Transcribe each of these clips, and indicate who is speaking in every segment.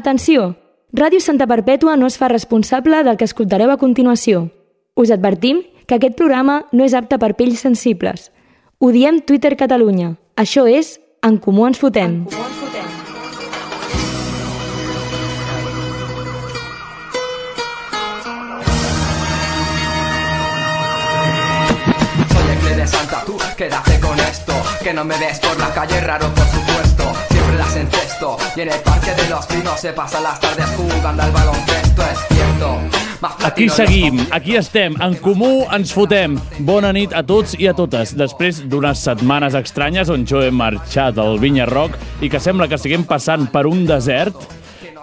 Speaker 1: Atenció! Ràdio Santa Perpètua no es fa responsable del que escoltareu a continuació. Us advertim que aquest programa no és apte per pells sensibles. Ho diem Twitter Catalunya. Això és En Comú Ens Fotem.
Speaker 2: Soy el Cle de Santa, tú quédate con esto Que no me ves por la calle, raro por supuesto Siempre las encesto Y en el parque de los pinos se pasan las tardes jugando al baloncesto, es cierto Más
Speaker 3: Aquí
Speaker 2: platino los
Speaker 3: seguim, aquí estem, en comú ens fotem. Bona nit a tots i a totes. Després d'unes setmanes estranyes on jo he marxat al Vinya Rock i que sembla que estiguem passant per un desert,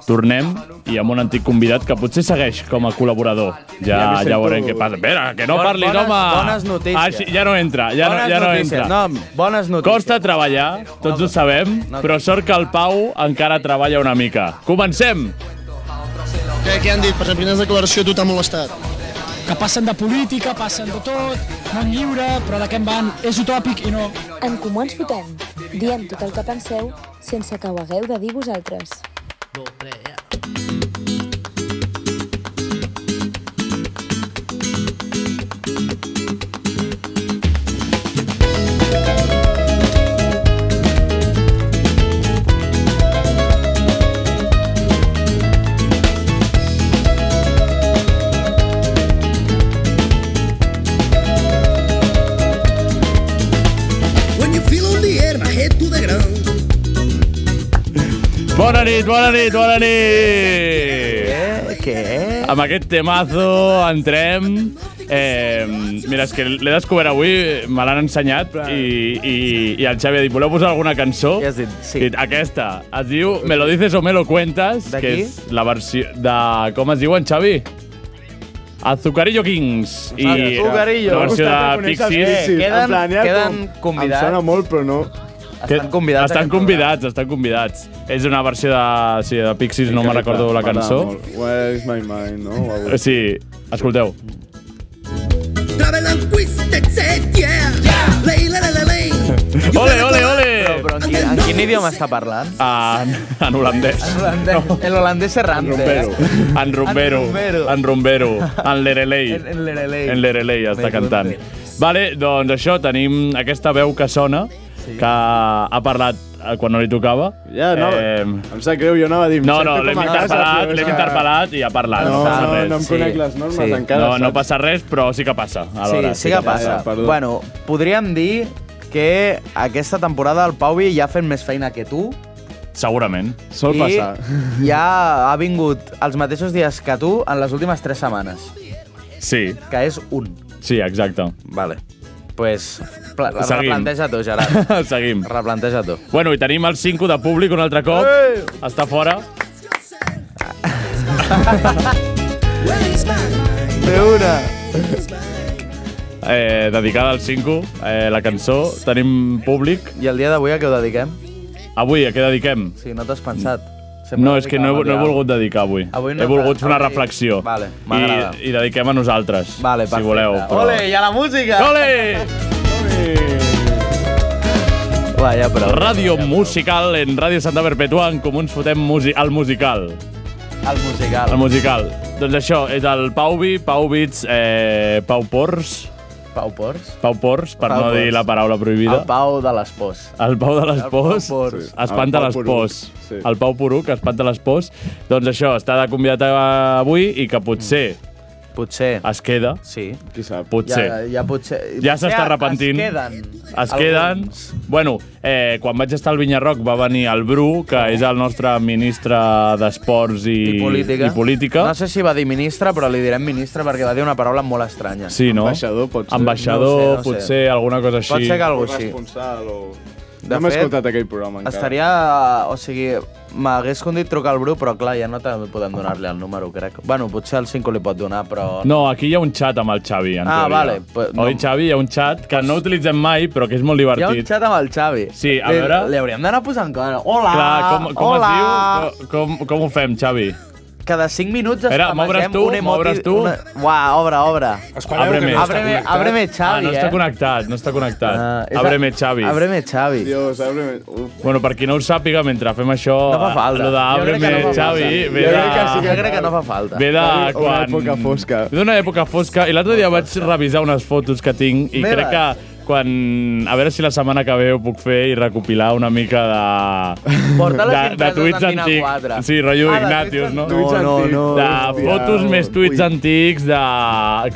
Speaker 3: tornem i amb un antic convidat que potser segueix com a col·laborador. Ja, ja veurem què passa. Espera, que no
Speaker 4: Bon-
Speaker 3: parlis,
Speaker 4: bones-
Speaker 3: home!
Speaker 4: bones notícies.
Speaker 3: Així, ja no entra, ja no,
Speaker 4: bones
Speaker 3: ja no
Speaker 4: notícies.
Speaker 3: entra.
Speaker 4: No, bones notícies.
Speaker 3: Costa treballar, tots ho sabem, però sort que el Pau encara treballa una mica. Comencem!
Speaker 5: Què, què han dit? Per exemple, quina declaració a tu t'ha molestat?
Speaker 6: que passen de política, passen de tot, món lliure, però de què en van? És utòpic i no.
Speaker 7: En Comú Ens Fotem. Diem tot el que penseu sense que ho hagueu de dir vosaltres.
Speaker 8: When you feel on the air, my head to the ground.
Speaker 3: Bona nit, bona nit, bona nit!
Speaker 4: Eh, què?
Speaker 3: Amb aquest temazo entrem... Eh, mira, és que l'he descobert avui, me l'han ensenyat i, i, i el Xavi ha dit, voleu posar alguna cançó?
Speaker 4: Què has dit? Sí.
Speaker 3: I Aquesta, es diu Me lo dices o me lo cuentas,
Speaker 4: De
Speaker 3: que
Speaker 4: qui?
Speaker 3: és la versió de... Com es diu en Xavi? Azucarillo Kings i
Speaker 4: Azucarillo.
Speaker 3: la versió
Speaker 9: M'ha
Speaker 3: de
Speaker 9: gustat que coneixes
Speaker 3: Pixies.
Speaker 9: Pixies.
Speaker 4: Queden-
Speaker 9: En plan, ja
Speaker 4: queden
Speaker 9: com-
Speaker 4: convidats.
Speaker 9: Em sona molt, però no.
Speaker 4: Estan convidats. a
Speaker 3: Estan
Speaker 4: aquest programa.
Speaker 3: convidats, estan convidats. És una versió de, sí, de Pixies, no me'n recordo la
Speaker 9: M'agrada
Speaker 3: cançó.
Speaker 9: Ah, molt. Where's my mind, no? O algo.
Speaker 3: Sí, escolteu.
Speaker 8: Travel and twist and set, yeah. Lay, la, la, la, lay.
Speaker 3: Ole, ole,
Speaker 4: Però,
Speaker 3: ole!
Speaker 4: però en, quin, en quin idioma està parlant?
Speaker 3: En, en holandès.
Speaker 4: L'holandès- El holandès eh? errante.
Speaker 9: Rompero.
Speaker 3: En rumbero.
Speaker 4: En rumbero.
Speaker 3: En rumbero. En lerelei.
Speaker 4: En- en lerelei.
Speaker 3: En lerelei està
Speaker 4: Me
Speaker 3: cantant. Vale, doncs això, tenim aquesta veu que sona, que ha parlat eh, quan no li tocava.
Speaker 9: Ja, no,
Speaker 3: Em,
Speaker 9: em sap greu, jo anava a dir... em
Speaker 3: no,
Speaker 9: sento
Speaker 3: no,
Speaker 9: com
Speaker 3: l'hem
Speaker 9: a casa,
Speaker 3: interpel·lat,
Speaker 9: però és
Speaker 3: l'hem
Speaker 9: que-
Speaker 3: interpel·lat i ha parlat, no,
Speaker 9: No,
Speaker 3: passa
Speaker 9: Ah, no,
Speaker 3: res.
Speaker 9: no em conec les normes
Speaker 4: Sí.
Speaker 9: encara,
Speaker 3: No, no
Speaker 9: saps?
Speaker 3: passa res, però sí que passa. Alhora,
Speaker 4: Sí, sí que passa.
Speaker 9: passa, perdó.
Speaker 4: bueno, podríem dir que aquesta temporada el Pauvi ja ha fet més feina que tu
Speaker 3: Segurament.
Speaker 9: Sol
Speaker 4: i
Speaker 9: passar.
Speaker 4: ja ha vingut els mateixos dies que tu en les últimes tres setmanes,
Speaker 3: Sí,
Speaker 4: que és un.
Speaker 3: sí, exacte.
Speaker 4: Vale. Pues pla-
Speaker 3: Seguim.
Speaker 4: replanteja tu, Gerard.
Speaker 3: Seguim.
Speaker 4: replanteja tu.
Speaker 3: Bueno, i tenim el 5 de públic un altre cop. Està fora.
Speaker 4: De una.
Speaker 3: eh, dedicada al 5, eh, la cançó. Tenim públic.
Speaker 4: I el dia d'avui a què ho dediquem?
Speaker 3: Avui, a què dediquem?
Speaker 4: Si no t'has pensat. Sempre
Speaker 3: No, és que no he,
Speaker 4: dedicàvem
Speaker 3: no he
Speaker 4: a
Speaker 3: volgut dedicar avui.
Speaker 4: Avui no,
Speaker 3: he volgut fer una
Speaker 4: avui-
Speaker 3: reflexió.
Speaker 4: Vale, m'agrada.
Speaker 3: I, I dediquem a nosaltres,
Speaker 4: Vale,
Speaker 3: si
Speaker 4: perfecte.
Speaker 3: voleu.
Speaker 4: Ole, i a la música!
Speaker 3: Ole!
Speaker 4: Va, ja, però...
Speaker 3: Ràdio Musical en Ràdio Santa Perpètua en Comuns fotem musi el musical.
Speaker 4: El musical.
Speaker 3: El musical. Doncs això, és el Pauvi, Pauvits, eh, Pau Pors,
Speaker 4: Pau Pors.
Speaker 3: Pau Pors, per
Speaker 4: Pau
Speaker 3: no dir
Speaker 4: Pors.
Speaker 3: la paraula prohibida.
Speaker 4: El Pau de les pors.
Speaker 3: El Pau de
Speaker 4: El
Speaker 3: les
Speaker 4: Pau
Speaker 3: Pors
Speaker 4: Pors.
Speaker 3: sí. espanta
Speaker 9: El Pau
Speaker 3: les
Speaker 9: Poruc,
Speaker 3: pors.
Speaker 9: sí.
Speaker 3: El Pau Poruc espanta les pors. Doncs això, està de convidat avui i que potser
Speaker 4: Potser.
Speaker 3: es queda.
Speaker 4: Sí.
Speaker 9: Qui sap?
Speaker 3: Potser.
Speaker 4: Ja, ja potser...
Speaker 3: Ah. Ja s'està
Speaker 4: potser
Speaker 3: arrepentint.
Speaker 4: Es queden.
Speaker 3: Es queden...
Speaker 4: Alguns.
Speaker 3: Bueno, eh, quan vaig estar al Vinyarroc va venir el Bru, que és el nostre ministre d'Esports i,
Speaker 4: I política.
Speaker 3: I política.
Speaker 4: No sé si va dir ministre, però li direm ministre perquè va dir una paraula molt estranya.
Speaker 3: Sí, no?
Speaker 9: Ambaixador, pot ser.
Speaker 3: Ambaixador,
Speaker 4: No ho sé, no ho sé.
Speaker 3: potser alguna cosa així.
Speaker 4: Pot ser que algú així.
Speaker 9: Corresponsal o...
Speaker 4: De
Speaker 9: No m'he
Speaker 4: fet,
Speaker 9: escoltat aquell programa encara.
Speaker 4: Estaria... O sigui, m'hagués condit trucar al Bru, però clar, ja no te podem donar-li el número, crec. Bueno, potser el 5 li pot donar, però...
Speaker 3: No, aquí hi ha un xat amb el Xavi, en
Speaker 4: Ah,
Speaker 3: teoria.
Speaker 4: vale, pues no.
Speaker 3: Oi, Xavi, hi ha un xat que no utilitzem mai, però que és molt
Speaker 4: Hi ha un
Speaker 3: divertit.
Speaker 4: xat amb el Xavi.
Speaker 3: Sí, a
Speaker 4: Li-
Speaker 3: veure.
Speaker 4: Li hauríem d'anar posant cara. Hola!
Speaker 3: Clar, com, com
Speaker 4: hola.
Speaker 3: es diu? Com, com ho fem, Xavi?
Speaker 4: Cada 5 minuts
Speaker 3: Espera,
Speaker 4: amagem
Speaker 3: m'obres tu,
Speaker 4: un emoti...
Speaker 3: m'obres tu.
Speaker 4: Una... Uà, obre, obre.
Speaker 10: Espereu
Speaker 3: Abre
Speaker 10: que
Speaker 3: més.
Speaker 10: no està
Speaker 4: Ábreme,
Speaker 10: connectat.
Speaker 4: ábreme
Speaker 3: Ah,
Speaker 4: Xavi,
Speaker 3: no està
Speaker 4: eh?
Speaker 3: connectat, no està connectat.
Speaker 4: Ah, és a-
Speaker 3: Ábreme, Xavi.
Speaker 4: Ábreme Xavi.
Speaker 9: Dios, ábreme. Uf.
Speaker 3: Bueno, per qui no ho sàpiga, mentre fem això...
Speaker 4: No fa falta.
Speaker 3: Lo de
Speaker 4: Jo crec que
Speaker 3: Ábreme,
Speaker 4: no fa
Speaker 3: Xavi,
Speaker 4: falta.
Speaker 3: ve
Speaker 9: Jo
Speaker 3: de...
Speaker 9: crec que sí
Speaker 4: Jo crec que no fa falta.
Speaker 3: Ve de
Speaker 9: Una
Speaker 3: quan...
Speaker 9: època fosca.
Speaker 3: D'una època fosca. I l'altre dia vaig revisar unes fotos que tinc i
Speaker 4: Meves.
Speaker 3: crec que quan... A veure si la setmana que ve ho puc fer i recopilar una mica de...
Speaker 4: Porta les
Speaker 3: de, de
Speaker 4: impreses
Speaker 3: tuits
Speaker 4: d'Antena
Speaker 3: antics.
Speaker 4: 4.
Speaker 3: Sí, rotllo
Speaker 4: Ah, de
Speaker 3: Ignatius,
Speaker 4: tuits
Speaker 3: no?
Speaker 4: antics. No, no, no.
Speaker 3: De
Speaker 9: Hòstia.
Speaker 3: fotos més tuits
Speaker 9: Ui.
Speaker 3: antics de...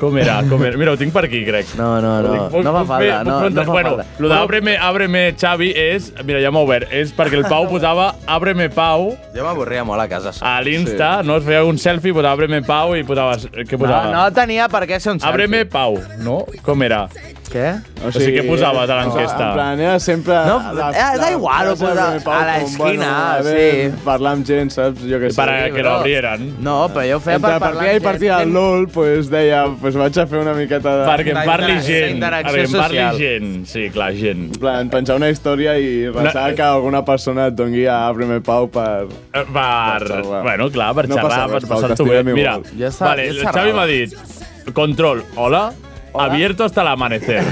Speaker 3: Com era? Com era? Mira, ho tinc per aquí, crec.
Speaker 4: No, no, no.
Speaker 3: Puc-
Speaker 4: No fa
Speaker 3: puc fer-
Speaker 4: falta,
Speaker 3: puc
Speaker 4: no,
Speaker 3: preguntar-
Speaker 4: no fa
Speaker 3: bueno,
Speaker 4: falta.
Speaker 3: Lo d'Ábreme, Ábreme, Xavi és... Mira, ja m'ha obert. És perquè el Pau posava Ábreme Pau
Speaker 4: Jo m'avorria molt a casa.
Speaker 3: a l'Insta, no? Es feia un selfie, posava Ábreme Pau i posaves... Què
Speaker 4: No,
Speaker 3: posava?
Speaker 4: no tenia per què ser un selfie.
Speaker 3: Ábreme Pau, no? Com era?
Speaker 4: Què?
Speaker 9: O
Speaker 3: sigui, què posaves a
Speaker 9: eh,
Speaker 3: l'enquesta?
Speaker 9: En plan, era sempre...
Speaker 4: No,
Speaker 9: la-
Speaker 4: eh, da
Speaker 9: la
Speaker 4: igual, ho
Speaker 9: frase
Speaker 4: posa
Speaker 9: de Pau
Speaker 4: a la
Speaker 9: com,
Speaker 4: esquina,
Speaker 9: a veure,
Speaker 4: sí.
Speaker 9: Parlar amb gent, saps? Jo què sé.
Speaker 3: Per a
Speaker 4: Sí,
Speaker 3: que
Speaker 4: bro.
Speaker 3: l'obriren.
Speaker 4: No, però jo ho feia
Speaker 9: Entre
Speaker 4: per parlar...
Speaker 9: partida i partida del LOL, pues, deia, pues, vaig a fer una miqueta de...
Speaker 3: Perquè
Speaker 4: La
Speaker 3: en parli
Speaker 4: interac- la
Speaker 3: gent.
Speaker 4: interacció
Speaker 3: Perquè en parli
Speaker 4: social.
Speaker 3: gent. Sí, clar, gent.
Speaker 9: En plan, pensar una història i
Speaker 3: No.
Speaker 9: pensar que alguna persona et doni a primer pau per...
Speaker 3: Eh, Per...
Speaker 9: xerrar.
Speaker 3: Bueno, clar, per
Speaker 9: No passa
Speaker 3: xerrar,
Speaker 9: res,
Speaker 3: per
Speaker 9: Pau,
Speaker 3: passar-t'ho bé.
Speaker 9: t'estimem
Speaker 3: Mira,
Speaker 9: igual.
Speaker 4: Ja està,
Speaker 3: vale,
Speaker 4: ja
Speaker 3: el
Speaker 4: xerrava.
Speaker 3: Xavi m'ha dit... Control, hola. Abierto hasta el amanecer.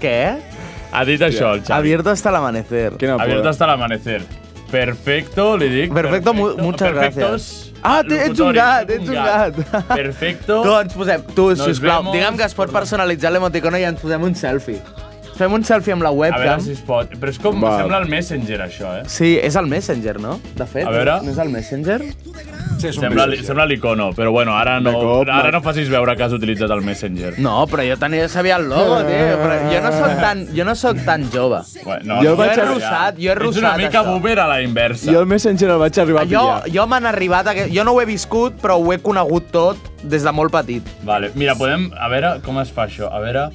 Speaker 4: Què?
Speaker 3: Ha dit això, el Xavi.
Speaker 4: Abierto hasta el amanecer.
Speaker 9: Quina
Speaker 3: Abierto
Speaker 9: por.
Speaker 3: hasta el amanecer. Perfecto, le dic.
Speaker 4: Perfecto, mu- muchas
Speaker 3: Perfectos.
Speaker 4: gracias. Ah, te- ets un gat, ets un gat.
Speaker 3: Perfecto.
Speaker 4: Doncs posem, tu,
Speaker 3: Nos
Speaker 4: sisplau,
Speaker 3: vemos.
Speaker 4: digue'm que es pot personalitzar l'emoticono i ens posem un selfie. Fem un selfie amb la
Speaker 3: A veure
Speaker 4: webcam.
Speaker 3: si es pot. Però és com,
Speaker 9: Val.
Speaker 3: sembla el Messenger, això, eh?
Speaker 4: Sí, és el Messenger, no? De fet,
Speaker 3: A veure.
Speaker 4: no és el Messenger?
Speaker 3: Sembla, li- sembla l'icono, però bueno, ara no,
Speaker 9: cop,
Speaker 3: ara
Speaker 9: no.
Speaker 3: no facis veure que has utilitzat el Messenger.
Speaker 4: No, però jo tenia, sabia el logo,
Speaker 9: Eh.
Speaker 4: tio. Però jo no sóc tan, jo no sóc tan jove.
Speaker 3: Bueno,
Speaker 9: Jo
Speaker 4: Jo
Speaker 9: vaig
Speaker 4: he
Speaker 9: a-
Speaker 4: russat, jo he
Speaker 3: Ets una
Speaker 4: russat,
Speaker 3: mica
Speaker 4: això.
Speaker 3: boomer a la inversa.
Speaker 9: Jo el Messenger el vaig arribar a
Speaker 4: Jo,
Speaker 9: pillar.
Speaker 4: jo m'han arribat... A... que- Jo no ho he viscut, però ho he conegut tot des de molt petit.
Speaker 3: Vale, mira, podem... A veure com es fa això. A veure...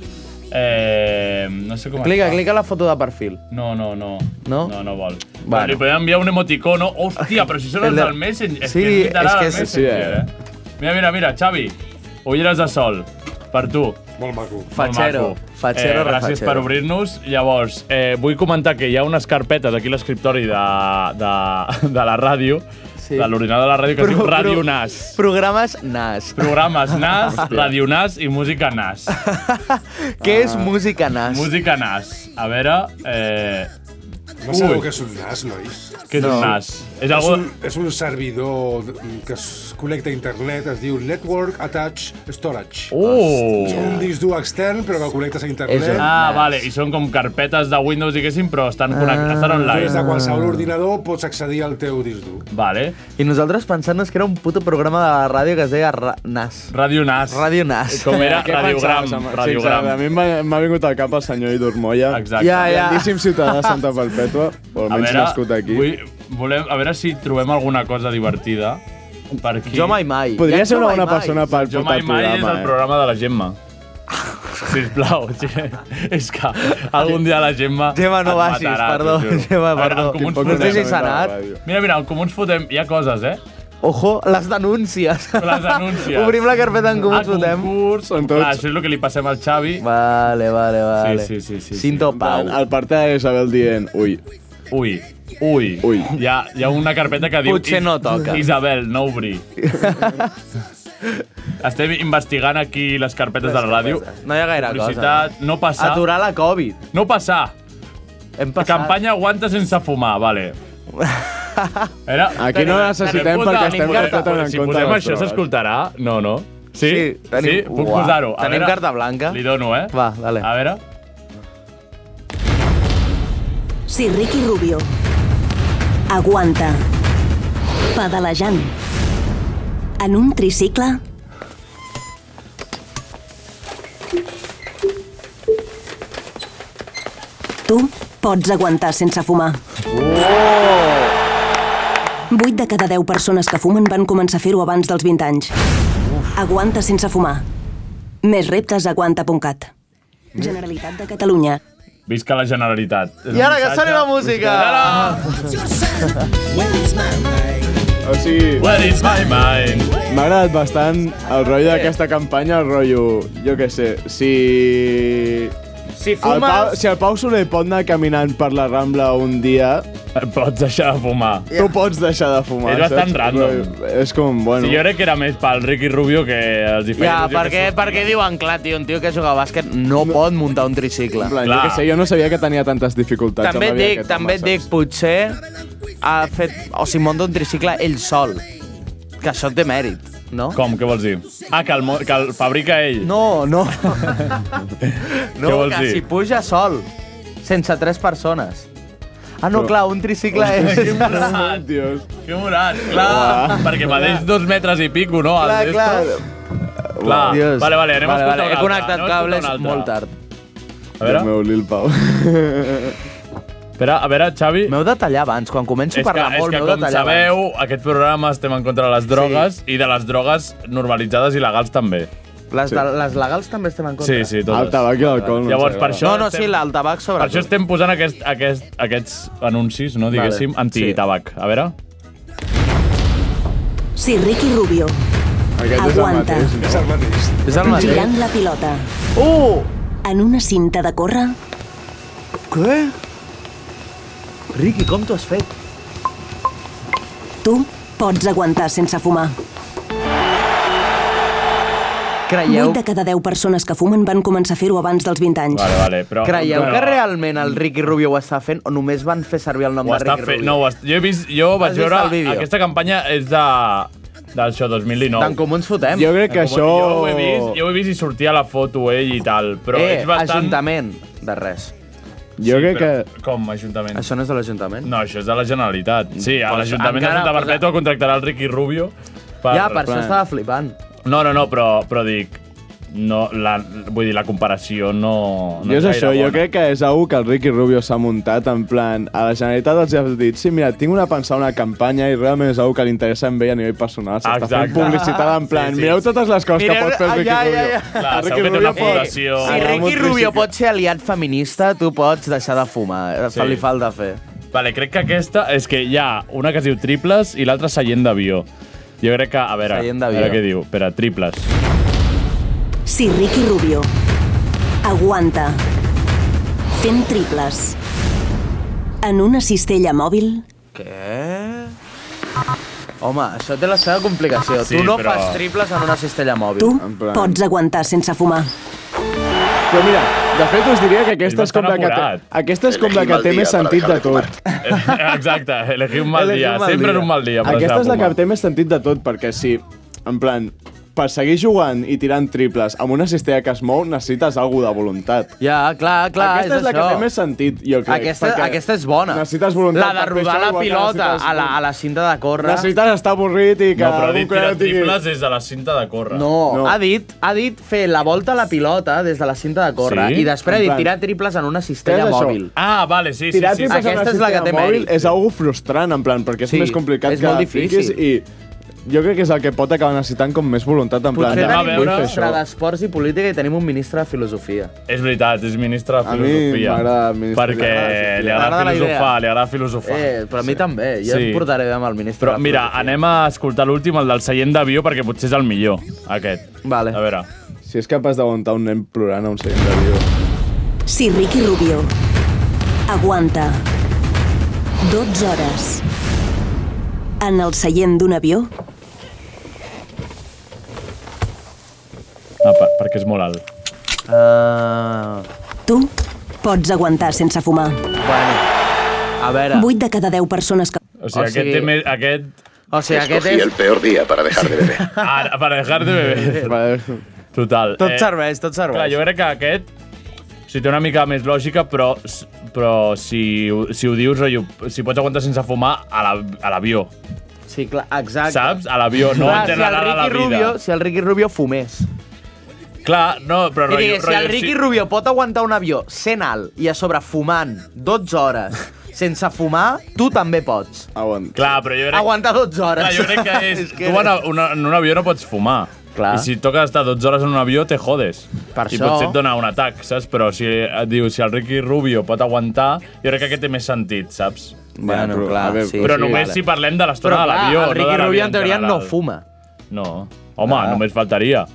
Speaker 3: Eh, no sé com
Speaker 4: Clica,
Speaker 3: es fa.
Speaker 4: clica la foto de perfil.
Speaker 3: No, no, no.
Speaker 4: No?
Speaker 3: No, no vol. Bueno.
Speaker 4: Bueno.
Speaker 3: Li podem enviar un emoticono. Hòstia, però si són els
Speaker 4: El de-
Speaker 3: del Messenger.
Speaker 4: Sí,
Speaker 3: és que, ens
Speaker 4: és
Speaker 3: quitarà
Speaker 4: que
Speaker 3: el
Speaker 4: és-
Speaker 3: Messenger, eh? Mira, mira, mira, Xavi. Ulleres de sol. Per tu.
Speaker 10: Molt maco.
Speaker 3: Molt
Speaker 4: Fatxero,
Speaker 3: maco.
Speaker 4: fatxero,
Speaker 3: eh, gràcies
Speaker 4: refacero.
Speaker 3: per obrir-nos. Llavors, eh, vull comentar que hi ha unes carpetes aquí a l'escriptori de, de, de la ràdio,
Speaker 4: Sí.
Speaker 3: de l'ordinador de la ràdio, que es diu
Speaker 4: Pro-
Speaker 3: Ràdio
Speaker 4: pro-
Speaker 3: Nas.
Speaker 4: Programes nas.
Speaker 3: Programes Nas, Ràdio Nas i Música Nas.
Speaker 4: Què
Speaker 3: Ah.
Speaker 4: és música nas?
Speaker 3: Música Nas. A veure... Eh,
Speaker 10: No sabeu
Speaker 3: Ui.
Speaker 10: què és un nas, nois?
Speaker 3: què és un Nas? És
Speaker 10: És
Speaker 3: algo...
Speaker 10: un, és un servidor que es connecta a internet, es diu Network Attached Storage. És
Speaker 3: Uh!
Speaker 10: un disc dur extern, però que el connectes a
Speaker 4: És un-
Speaker 10: internet.
Speaker 3: Ah, vale, i són com carpetes de Windows, diguéssim, però estan, connect... estan
Speaker 10: Des de
Speaker 3: online.
Speaker 10: qualsevol ordinador pots accedir al teu disc dur.
Speaker 3: Vale.
Speaker 4: I nosaltres pensant-nos que era un puto programa de la ràdio que es deia ra nas.
Speaker 3: Ràdio Nas.
Speaker 4: Ràdio nas.
Speaker 3: Com era?
Speaker 9: Què
Speaker 3: Radiogram.
Speaker 9: pensaves, home?
Speaker 3: Radiogram.
Speaker 9: Sincerament, a mi em va- m'ha vingut al cap el senyor Idor Moya.
Speaker 3: Exacte.
Speaker 4: Ja, ja.
Speaker 9: Grandíssim ciutadà de Santa Perpètua, o
Speaker 3: A
Speaker 9: almenys
Speaker 3: veure,
Speaker 9: nascut aquí.
Speaker 3: Vull, volem, a veure si trobem alguna cosa divertida per aquí.
Speaker 4: Jo mai mai.
Speaker 9: Podria
Speaker 4: Ja
Speaker 9: ser
Speaker 4: jo
Speaker 9: una
Speaker 4: mai
Speaker 9: bona
Speaker 4: mai.
Speaker 9: persona per
Speaker 3: Jo
Speaker 9: portar
Speaker 3: mai
Speaker 9: el
Speaker 3: mai és
Speaker 4: eh?
Speaker 3: el
Speaker 9: programa. eh?
Speaker 3: programa de la Gemma. Sisplau, sí, és que algun dia la Gemma
Speaker 4: Gemma, no
Speaker 3: et
Speaker 4: vagis,
Speaker 3: matarà, t'ho
Speaker 4: perdó,
Speaker 3: juro.
Speaker 4: Gemma,
Speaker 3: A veure,
Speaker 4: perdó.
Speaker 3: el Comuns
Speaker 4: Quin poc
Speaker 3: fotem-
Speaker 4: No sé si s'ha anat.
Speaker 3: Mira, mira, el Comuns fotem... Hi ha coses, eh?
Speaker 4: Ojo, les denúncies.
Speaker 3: Les denúncies.
Speaker 4: Obrim la carpeta en comú
Speaker 3: Ah,
Speaker 4: ens fotem.
Speaker 3: concurs...
Speaker 9: Són tots.
Speaker 3: Clar, això és el que li passem al Xavi.
Speaker 4: Vale, vale, vale.
Speaker 3: Sí, sí, sí, sí,
Speaker 4: Cinto Pau.
Speaker 9: El part de Isabel dient, ui,
Speaker 3: Ui, ui.
Speaker 9: Ui.
Speaker 3: Hi ha, hi ha una carpeta que diu...
Speaker 4: Potser no
Speaker 3: Is-
Speaker 4: toca.
Speaker 3: Isabel, no obri. Estem investigant aquí les carpetes de la ràdio.
Speaker 4: No hi ha gaire cosa.
Speaker 3: Publicitat, no passar.
Speaker 4: Aturar la Covid.
Speaker 3: No passar.
Speaker 4: Hem passat.
Speaker 3: Campanya aguanta sense fumar, vale. Era...
Speaker 9: Aquí no necessitem
Speaker 3: Puta,
Speaker 9: perquè estem
Speaker 3: podem-
Speaker 9: carpetant en
Speaker 3: Si
Speaker 9: compte
Speaker 3: posem
Speaker 9: dels
Speaker 3: això,
Speaker 9: drogues.
Speaker 3: s'escoltarà? No, no. Sí?
Speaker 4: Sí, tenim-
Speaker 3: sí? Puc
Speaker 4: Uah.
Speaker 3: posar-ho? A
Speaker 4: Tenim
Speaker 3: veure,
Speaker 4: carta blanca.
Speaker 3: Li dono, eh?
Speaker 4: Va, dale.
Speaker 3: A veure.
Speaker 11: Si Ricky Rubio aguanta pedalejant en un tricicle... Tu pots aguantar sense fumar. Oh! 8 de cada 10 persones que fumen van començar a fer-ho abans dels 20 anys. Aguanta sense fumar. Més reptes a aguanta.cat. Generalitat de Catalunya.
Speaker 3: Visca la Generalitat. És
Speaker 4: I
Speaker 3: un
Speaker 4: ara que
Speaker 3: missatge.
Speaker 4: soni la música.
Speaker 3: Ara!
Speaker 9: O sigui,
Speaker 3: Where is my mind?
Speaker 9: m'ha agradat bastant el rotllo d'aquesta campanya, el rotllo, jo què sé, si...
Speaker 3: Si
Speaker 9: El Pau, si el Pau Soler pot anar caminant per la Rambla un dia...
Speaker 3: Pots deixar de fumar.
Speaker 9: Tu pots deixar de fumar.
Speaker 3: És bastant
Speaker 9: saps?
Speaker 3: random.
Speaker 9: És com, bueno...
Speaker 3: Sí, jo crec que era més pel Ricky Rubio que els hi
Speaker 4: Ja,
Speaker 3: feia il·lusió
Speaker 4: perquè, perquè diuen, clar, tio, un tio que juga a bàsquet no, pot muntar un tricicle.
Speaker 9: Plan, jo, que sé, jo no sabia que tenia tantes dificultats.
Speaker 4: També et dic, també et dic, potser ha fet, o sigui, munta un tricicle ell sol, que això té mèrit, no?
Speaker 3: Com, què vols dir? Ah, que el, mo- que el fabrica ell.
Speaker 4: No, no.
Speaker 3: Què
Speaker 4: No,
Speaker 3: vols
Speaker 4: que
Speaker 3: dir?
Speaker 4: s'hi puja sol, sense tres persones. Ah, no,
Speaker 3: Però-
Speaker 4: clar, un tricicle és...
Speaker 3: Que morat,
Speaker 9: Dios.
Speaker 3: Que morat, clar. Perquè medeix dos metres i pico, no?
Speaker 4: Clar,
Speaker 3: el
Speaker 4: clar.
Speaker 3: d'esto? Clar.
Speaker 4: Dios.
Speaker 3: Vale, vale, anem
Speaker 4: Vale,
Speaker 3: a
Speaker 4: vale,
Speaker 3: escoltar
Speaker 4: he connectat cables molt
Speaker 3: tard.
Speaker 9: A veure... El meu Lil Pau.
Speaker 3: Espera, a veure, Xavi...
Speaker 4: M'heu de tallar abans, quan començo a
Speaker 3: És que,
Speaker 4: parlar molt,
Speaker 3: és que
Speaker 4: m'heu de
Speaker 3: com
Speaker 4: tallar
Speaker 3: sabeu, aquest programa estem en contra de les drogues i de les drogues normalitzades i legals també.
Speaker 4: Les, de, les legals també estem en contra.
Speaker 3: Sí, sí, totes.
Speaker 9: El tabac i l'alcohol no
Speaker 3: Llavors,
Speaker 9: ens
Speaker 3: per això...
Speaker 4: No, no, sí,
Speaker 3: estem-
Speaker 4: la- el tabac
Speaker 3: Per
Speaker 4: sobretot.
Speaker 3: això estem posant aquest, aquest, aquests anuncis, no, diguéssim,
Speaker 4: Vale,
Speaker 3: vale. anti-tabac. A veure...
Speaker 11: Si Ricky Rubio aguanta
Speaker 10: És el mateix.
Speaker 4: És el mateix.
Speaker 11: girant la pilota
Speaker 9: Oh!
Speaker 4: Uh!
Speaker 11: en una cinta de córrer,
Speaker 4: Què? Ricky, com t'ho has fet?
Speaker 11: tu pots aguantar sense fumar.
Speaker 4: Creieu,
Speaker 11: 8 de cada 10 persones que fumen van començar a fer-ho abans dels 20 anys.
Speaker 3: Vale, vale, però...
Speaker 4: creieu
Speaker 3: però,
Speaker 4: que realment el Ricky Rubio ho està fent o només van fer servir el nom
Speaker 3: Ho
Speaker 4: de
Speaker 3: està
Speaker 4: Ricky
Speaker 3: fent...
Speaker 4: Rubio?
Speaker 3: No, ho est... jo, he vist, jo vaig
Speaker 4: vist
Speaker 3: veure...
Speaker 4: el vídeo?
Speaker 3: Aquesta campanya és de... D'això, 2019.
Speaker 4: D'en comú ens fotem.
Speaker 9: Jo crec que
Speaker 3: Com-
Speaker 9: això...
Speaker 3: Jo ho he vist, jo ho he vist i sortia la foto ell i tal, però
Speaker 4: eh,
Speaker 3: és bastant...
Speaker 4: Ajuntament de res.
Speaker 9: Jo crec que...
Speaker 3: que... Com, Ajuntament?
Speaker 4: Això no és de l'Ajuntament?
Speaker 3: No, això és de la Generalitat. Sí, a
Speaker 4: Pues
Speaker 3: l'Ajuntament de
Speaker 4: encara-
Speaker 3: Santa Perpètua contractarà el Ricky Rubio per...
Speaker 4: ja, per això estava flipant.
Speaker 3: No, no, no, però, però dic... No, la, vull dir, la comparació no... no
Speaker 9: Jo és
Speaker 3: gaire
Speaker 9: això, jo
Speaker 3: bona.
Speaker 9: crec que és algú que el Ricky Rubio s'ha muntat en plan, a la Generalitat els has dit sí, mira, tinc una pensada, una campanya i realment és algú que li interessa en ell a nivell personal s'està fent
Speaker 3: Exacte.
Speaker 9: publicitat en plan,
Speaker 3: Sí, sí,
Speaker 9: mireu
Speaker 3: sí.
Speaker 9: totes les coses que
Speaker 4: Mireu-
Speaker 9: pot fer el
Speaker 4: ah,
Speaker 9: Ricky
Speaker 4: ja, ja,
Speaker 9: Rubio
Speaker 4: ja.
Speaker 3: Clar,
Speaker 9: El
Speaker 3: segur que té
Speaker 9: Ricky
Speaker 3: una
Speaker 9: Rubio pot-
Speaker 4: Eh,
Speaker 3: fundació.
Speaker 4: Si
Speaker 9: Agarra
Speaker 4: Ricky
Speaker 9: un
Speaker 4: Rubio
Speaker 9: tricicle.
Speaker 4: pot ser aliat feminista, tu pots deixar de fumar. Eh,
Speaker 3: Sí.
Speaker 4: Sí. Li falta fer.
Speaker 3: Vale, crec que aquesta és que hi ha una que es diu triples i l'altra seient d'avió. Jo crec que, a veure,
Speaker 4: Seient
Speaker 3: a
Speaker 4: d'avió.
Speaker 3: veure què diu. Espera, triples.
Speaker 11: Si Ricky Rubio aguanta fent triples en una cistella mòbil,
Speaker 4: Què? Home, això té la seva complicació.
Speaker 3: Sí,
Speaker 4: tu no
Speaker 3: però-
Speaker 4: fas triples en una cistella mòbil.
Speaker 11: tu
Speaker 9: En plan-
Speaker 11: pots aguantar sense fumar.
Speaker 9: Però mira, de fet us diria que aquesta és com la que té,
Speaker 3: Bastant
Speaker 9: aquesta és com la que té més sentit de tot.
Speaker 3: Eh, Exacte, elegir un mal
Speaker 4: Elegir
Speaker 3: dia.
Speaker 4: un mal
Speaker 3: Sempre
Speaker 4: dia.
Speaker 3: és un mal dia. per
Speaker 9: Aquesta
Speaker 3: deixar
Speaker 9: és
Speaker 3: de
Speaker 9: la que
Speaker 3: fumar.
Speaker 9: té més sentit de tot perquè si, en plan, per seguir jugant i tirant triples amb una cistella que es mou necessites algú de voluntat.
Speaker 4: Ja, clar, clar,
Speaker 9: aquesta és,
Speaker 4: és
Speaker 9: la que
Speaker 4: això.
Speaker 9: té més sentit, jo crec.
Speaker 4: Aquesta,
Speaker 9: perquè
Speaker 4: aquesta és bona.
Speaker 9: Necessites
Speaker 4: La
Speaker 9: voluntat.
Speaker 4: de
Speaker 9: per fer
Speaker 4: robar
Speaker 9: això,
Speaker 4: la
Speaker 9: igual que
Speaker 4: pilota
Speaker 9: necessites-
Speaker 4: a la, a la cinta de córrer.
Speaker 9: Necessites estar avorrit i que...
Speaker 3: No, però ha
Speaker 9: algú
Speaker 3: dit
Speaker 9: que
Speaker 3: tirar
Speaker 9: digui-
Speaker 3: triples és a la cinta de
Speaker 4: No,
Speaker 3: córrer.
Speaker 9: No.
Speaker 4: no, ha dit, ha dit fer la volta a la pilota des de la cinta de córrer
Speaker 3: Sí?
Speaker 4: i després
Speaker 9: En
Speaker 4: ha dit
Speaker 9: plan-
Speaker 4: tirar triples en una
Speaker 9: Què
Speaker 4: cistella
Speaker 9: és això?
Speaker 4: mòbil.
Speaker 3: Ah, vale, sí, sí,
Speaker 9: Tirar
Speaker 3: sí.
Speaker 9: triples
Speaker 3: sí.
Speaker 9: amb una
Speaker 4: Aquesta és la que
Speaker 9: cistella
Speaker 4: té
Speaker 9: mòbil
Speaker 4: mèrit.
Speaker 9: és algo frustrant, en plan, perquè és
Speaker 4: Sí,
Speaker 9: més complicat
Speaker 4: és
Speaker 9: que
Speaker 4: molt
Speaker 9: la fiquis
Speaker 4: difícil.
Speaker 9: i jo crec que és el que pot acabar necessitant com més voluntat, en plan, "Ah,
Speaker 4: Potser
Speaker 3: anem a
Speaker 4: tenim
Speaker 3: veure-
Speaker 4: un ministre d'Esports i Política i tenim un ministre de Filosofia.
Speaker 3: És veritat, és ministre de
Speaker 9: A mi
Speaker 3: filosofia.
Speaker 9: m'agrada el ministre Ah,
Speaker 3: Perquè
Speaker 9: de filosofia.
Speaker 3: li
Speaker 4: M'agrada
Speaker 3: agrada
Speaker 4: la idea.
Speaker 3: filosofar, li agrada filosofar.
Speaker 4: Eh, però a mi també, jo
Speaker 3: Sí.
Speaker 4: em portaré amb el ministre
Speaker 3: Però
Speaker 4: de
Speaker 3: mira,
Speaker 4: Filosofia.
Speaker 3: anem a escoltar l'últim, el del seient d'avió, perquè potser és el millor, aquest.
Speaker 4: Vale.
Speaker 3: A veure.
Speaker 9: Si és capaç d'aguantar un nen plorant a un seient d'avió.
Speaker 11: Si Ricky Rubio aguanta 12 hores en el seient d'un avió,
Speaker 3: Ah, per, perquè és molt alt.
Speaker 4: Ah,
Speaker 11: tu pots aguantar sense fumar.
Speaker 4: Eh, bueno, a
Speaker 7: Ah.
Speaker 4: veure...
Speaker 11: 8 de cada 10 persones que...
Speaker 3: O sigui,
Speaker 4: O
Speaker 3: aquest
Speaker 4: sigui-
Speaker 3: té més... Aquest...
Speaker 4: O sigui, aquest
Speaker 12: Escogí el
Speaker 4: és...
Speaker 12: peor día para dejar de beber.
Speaker 3: Ara, per dejar de beber.
Speaker 9: Vale.
Speaker 3: Total. eh,
Speaker 4: Tot serveix, tot serveix.
Speaker 3: Clar, jo crec que aquest... O sigui, té una mica més lògica, però, s- però si, ho- si ho dius, rotllo, si pots aguantar sense fumar, a la- a l'avió.
Speaker 4: Sí, clar, exacte.
Speaker 3: Saps? A l'avió, no
Speaker 4: clar,
Speaker 3: en
Speaker 4: si el
Speaker 3: general a la
Speaker 4: Ricky
Speaker 3: vida.
Speaker 4: Rubio, si el Ricky Rubio fumés.
Speaker 3: Clar, no, però
Speaker 4: I
Speaker 3: rotllo...
Speaker 4: digués, si el
Speaker 3: rotllo,
Speaker 4: Ricky Rubio pot aguantar un avió sent alt i a sobre fumant 12 hores sense fumar, tu també pots.
Speaker 9: Aguanta.
Speaker 3: Clar, però jo crec...
Speaker 4: Aguantar 12 hores.
Speaker 3: Clar, jo crec que és...
Speaker 4: És que-
Speaker 3: Tu en, una, en un avió no pots fumar.
Speaker 4: Clar.
Speaker 3: I si et toca estar 12 hores en un avió, te jodes.
Speaker 4: Per
Speaker 3: I
Speaker 4: això-
Speaker 3: potser et dona un atac, saps? Però si et diu, si el Ricky Rubio pot aguantar, jo crec que aquest té més sentit, saps?
Speaker 4: Bueno,
Speaker 9: però,
Speaker 4: clar,
Speaker 9: a veure,
Speaker 4: sí,
Speaker 3: Però
Speaker 4: sí,
Speaker 3: només
Speaker 4: vale.
Speaker 3: si parlem de
Speaker 4: Però
Speaker 3: l'estona de
Speaker 4: clar,
Speaker 3: l'avió,
Speaker 4: el
Speaker 3: no de
Speaker 4: Ricky
Speaker 3: l'avió
Speaker 4: Rubio en teoria no
Speaker 3: general.
Speaker 4: fuma.
Speaker 3: No. Home,
Speaker 4: Ah.
Speaker 3: només faltaria.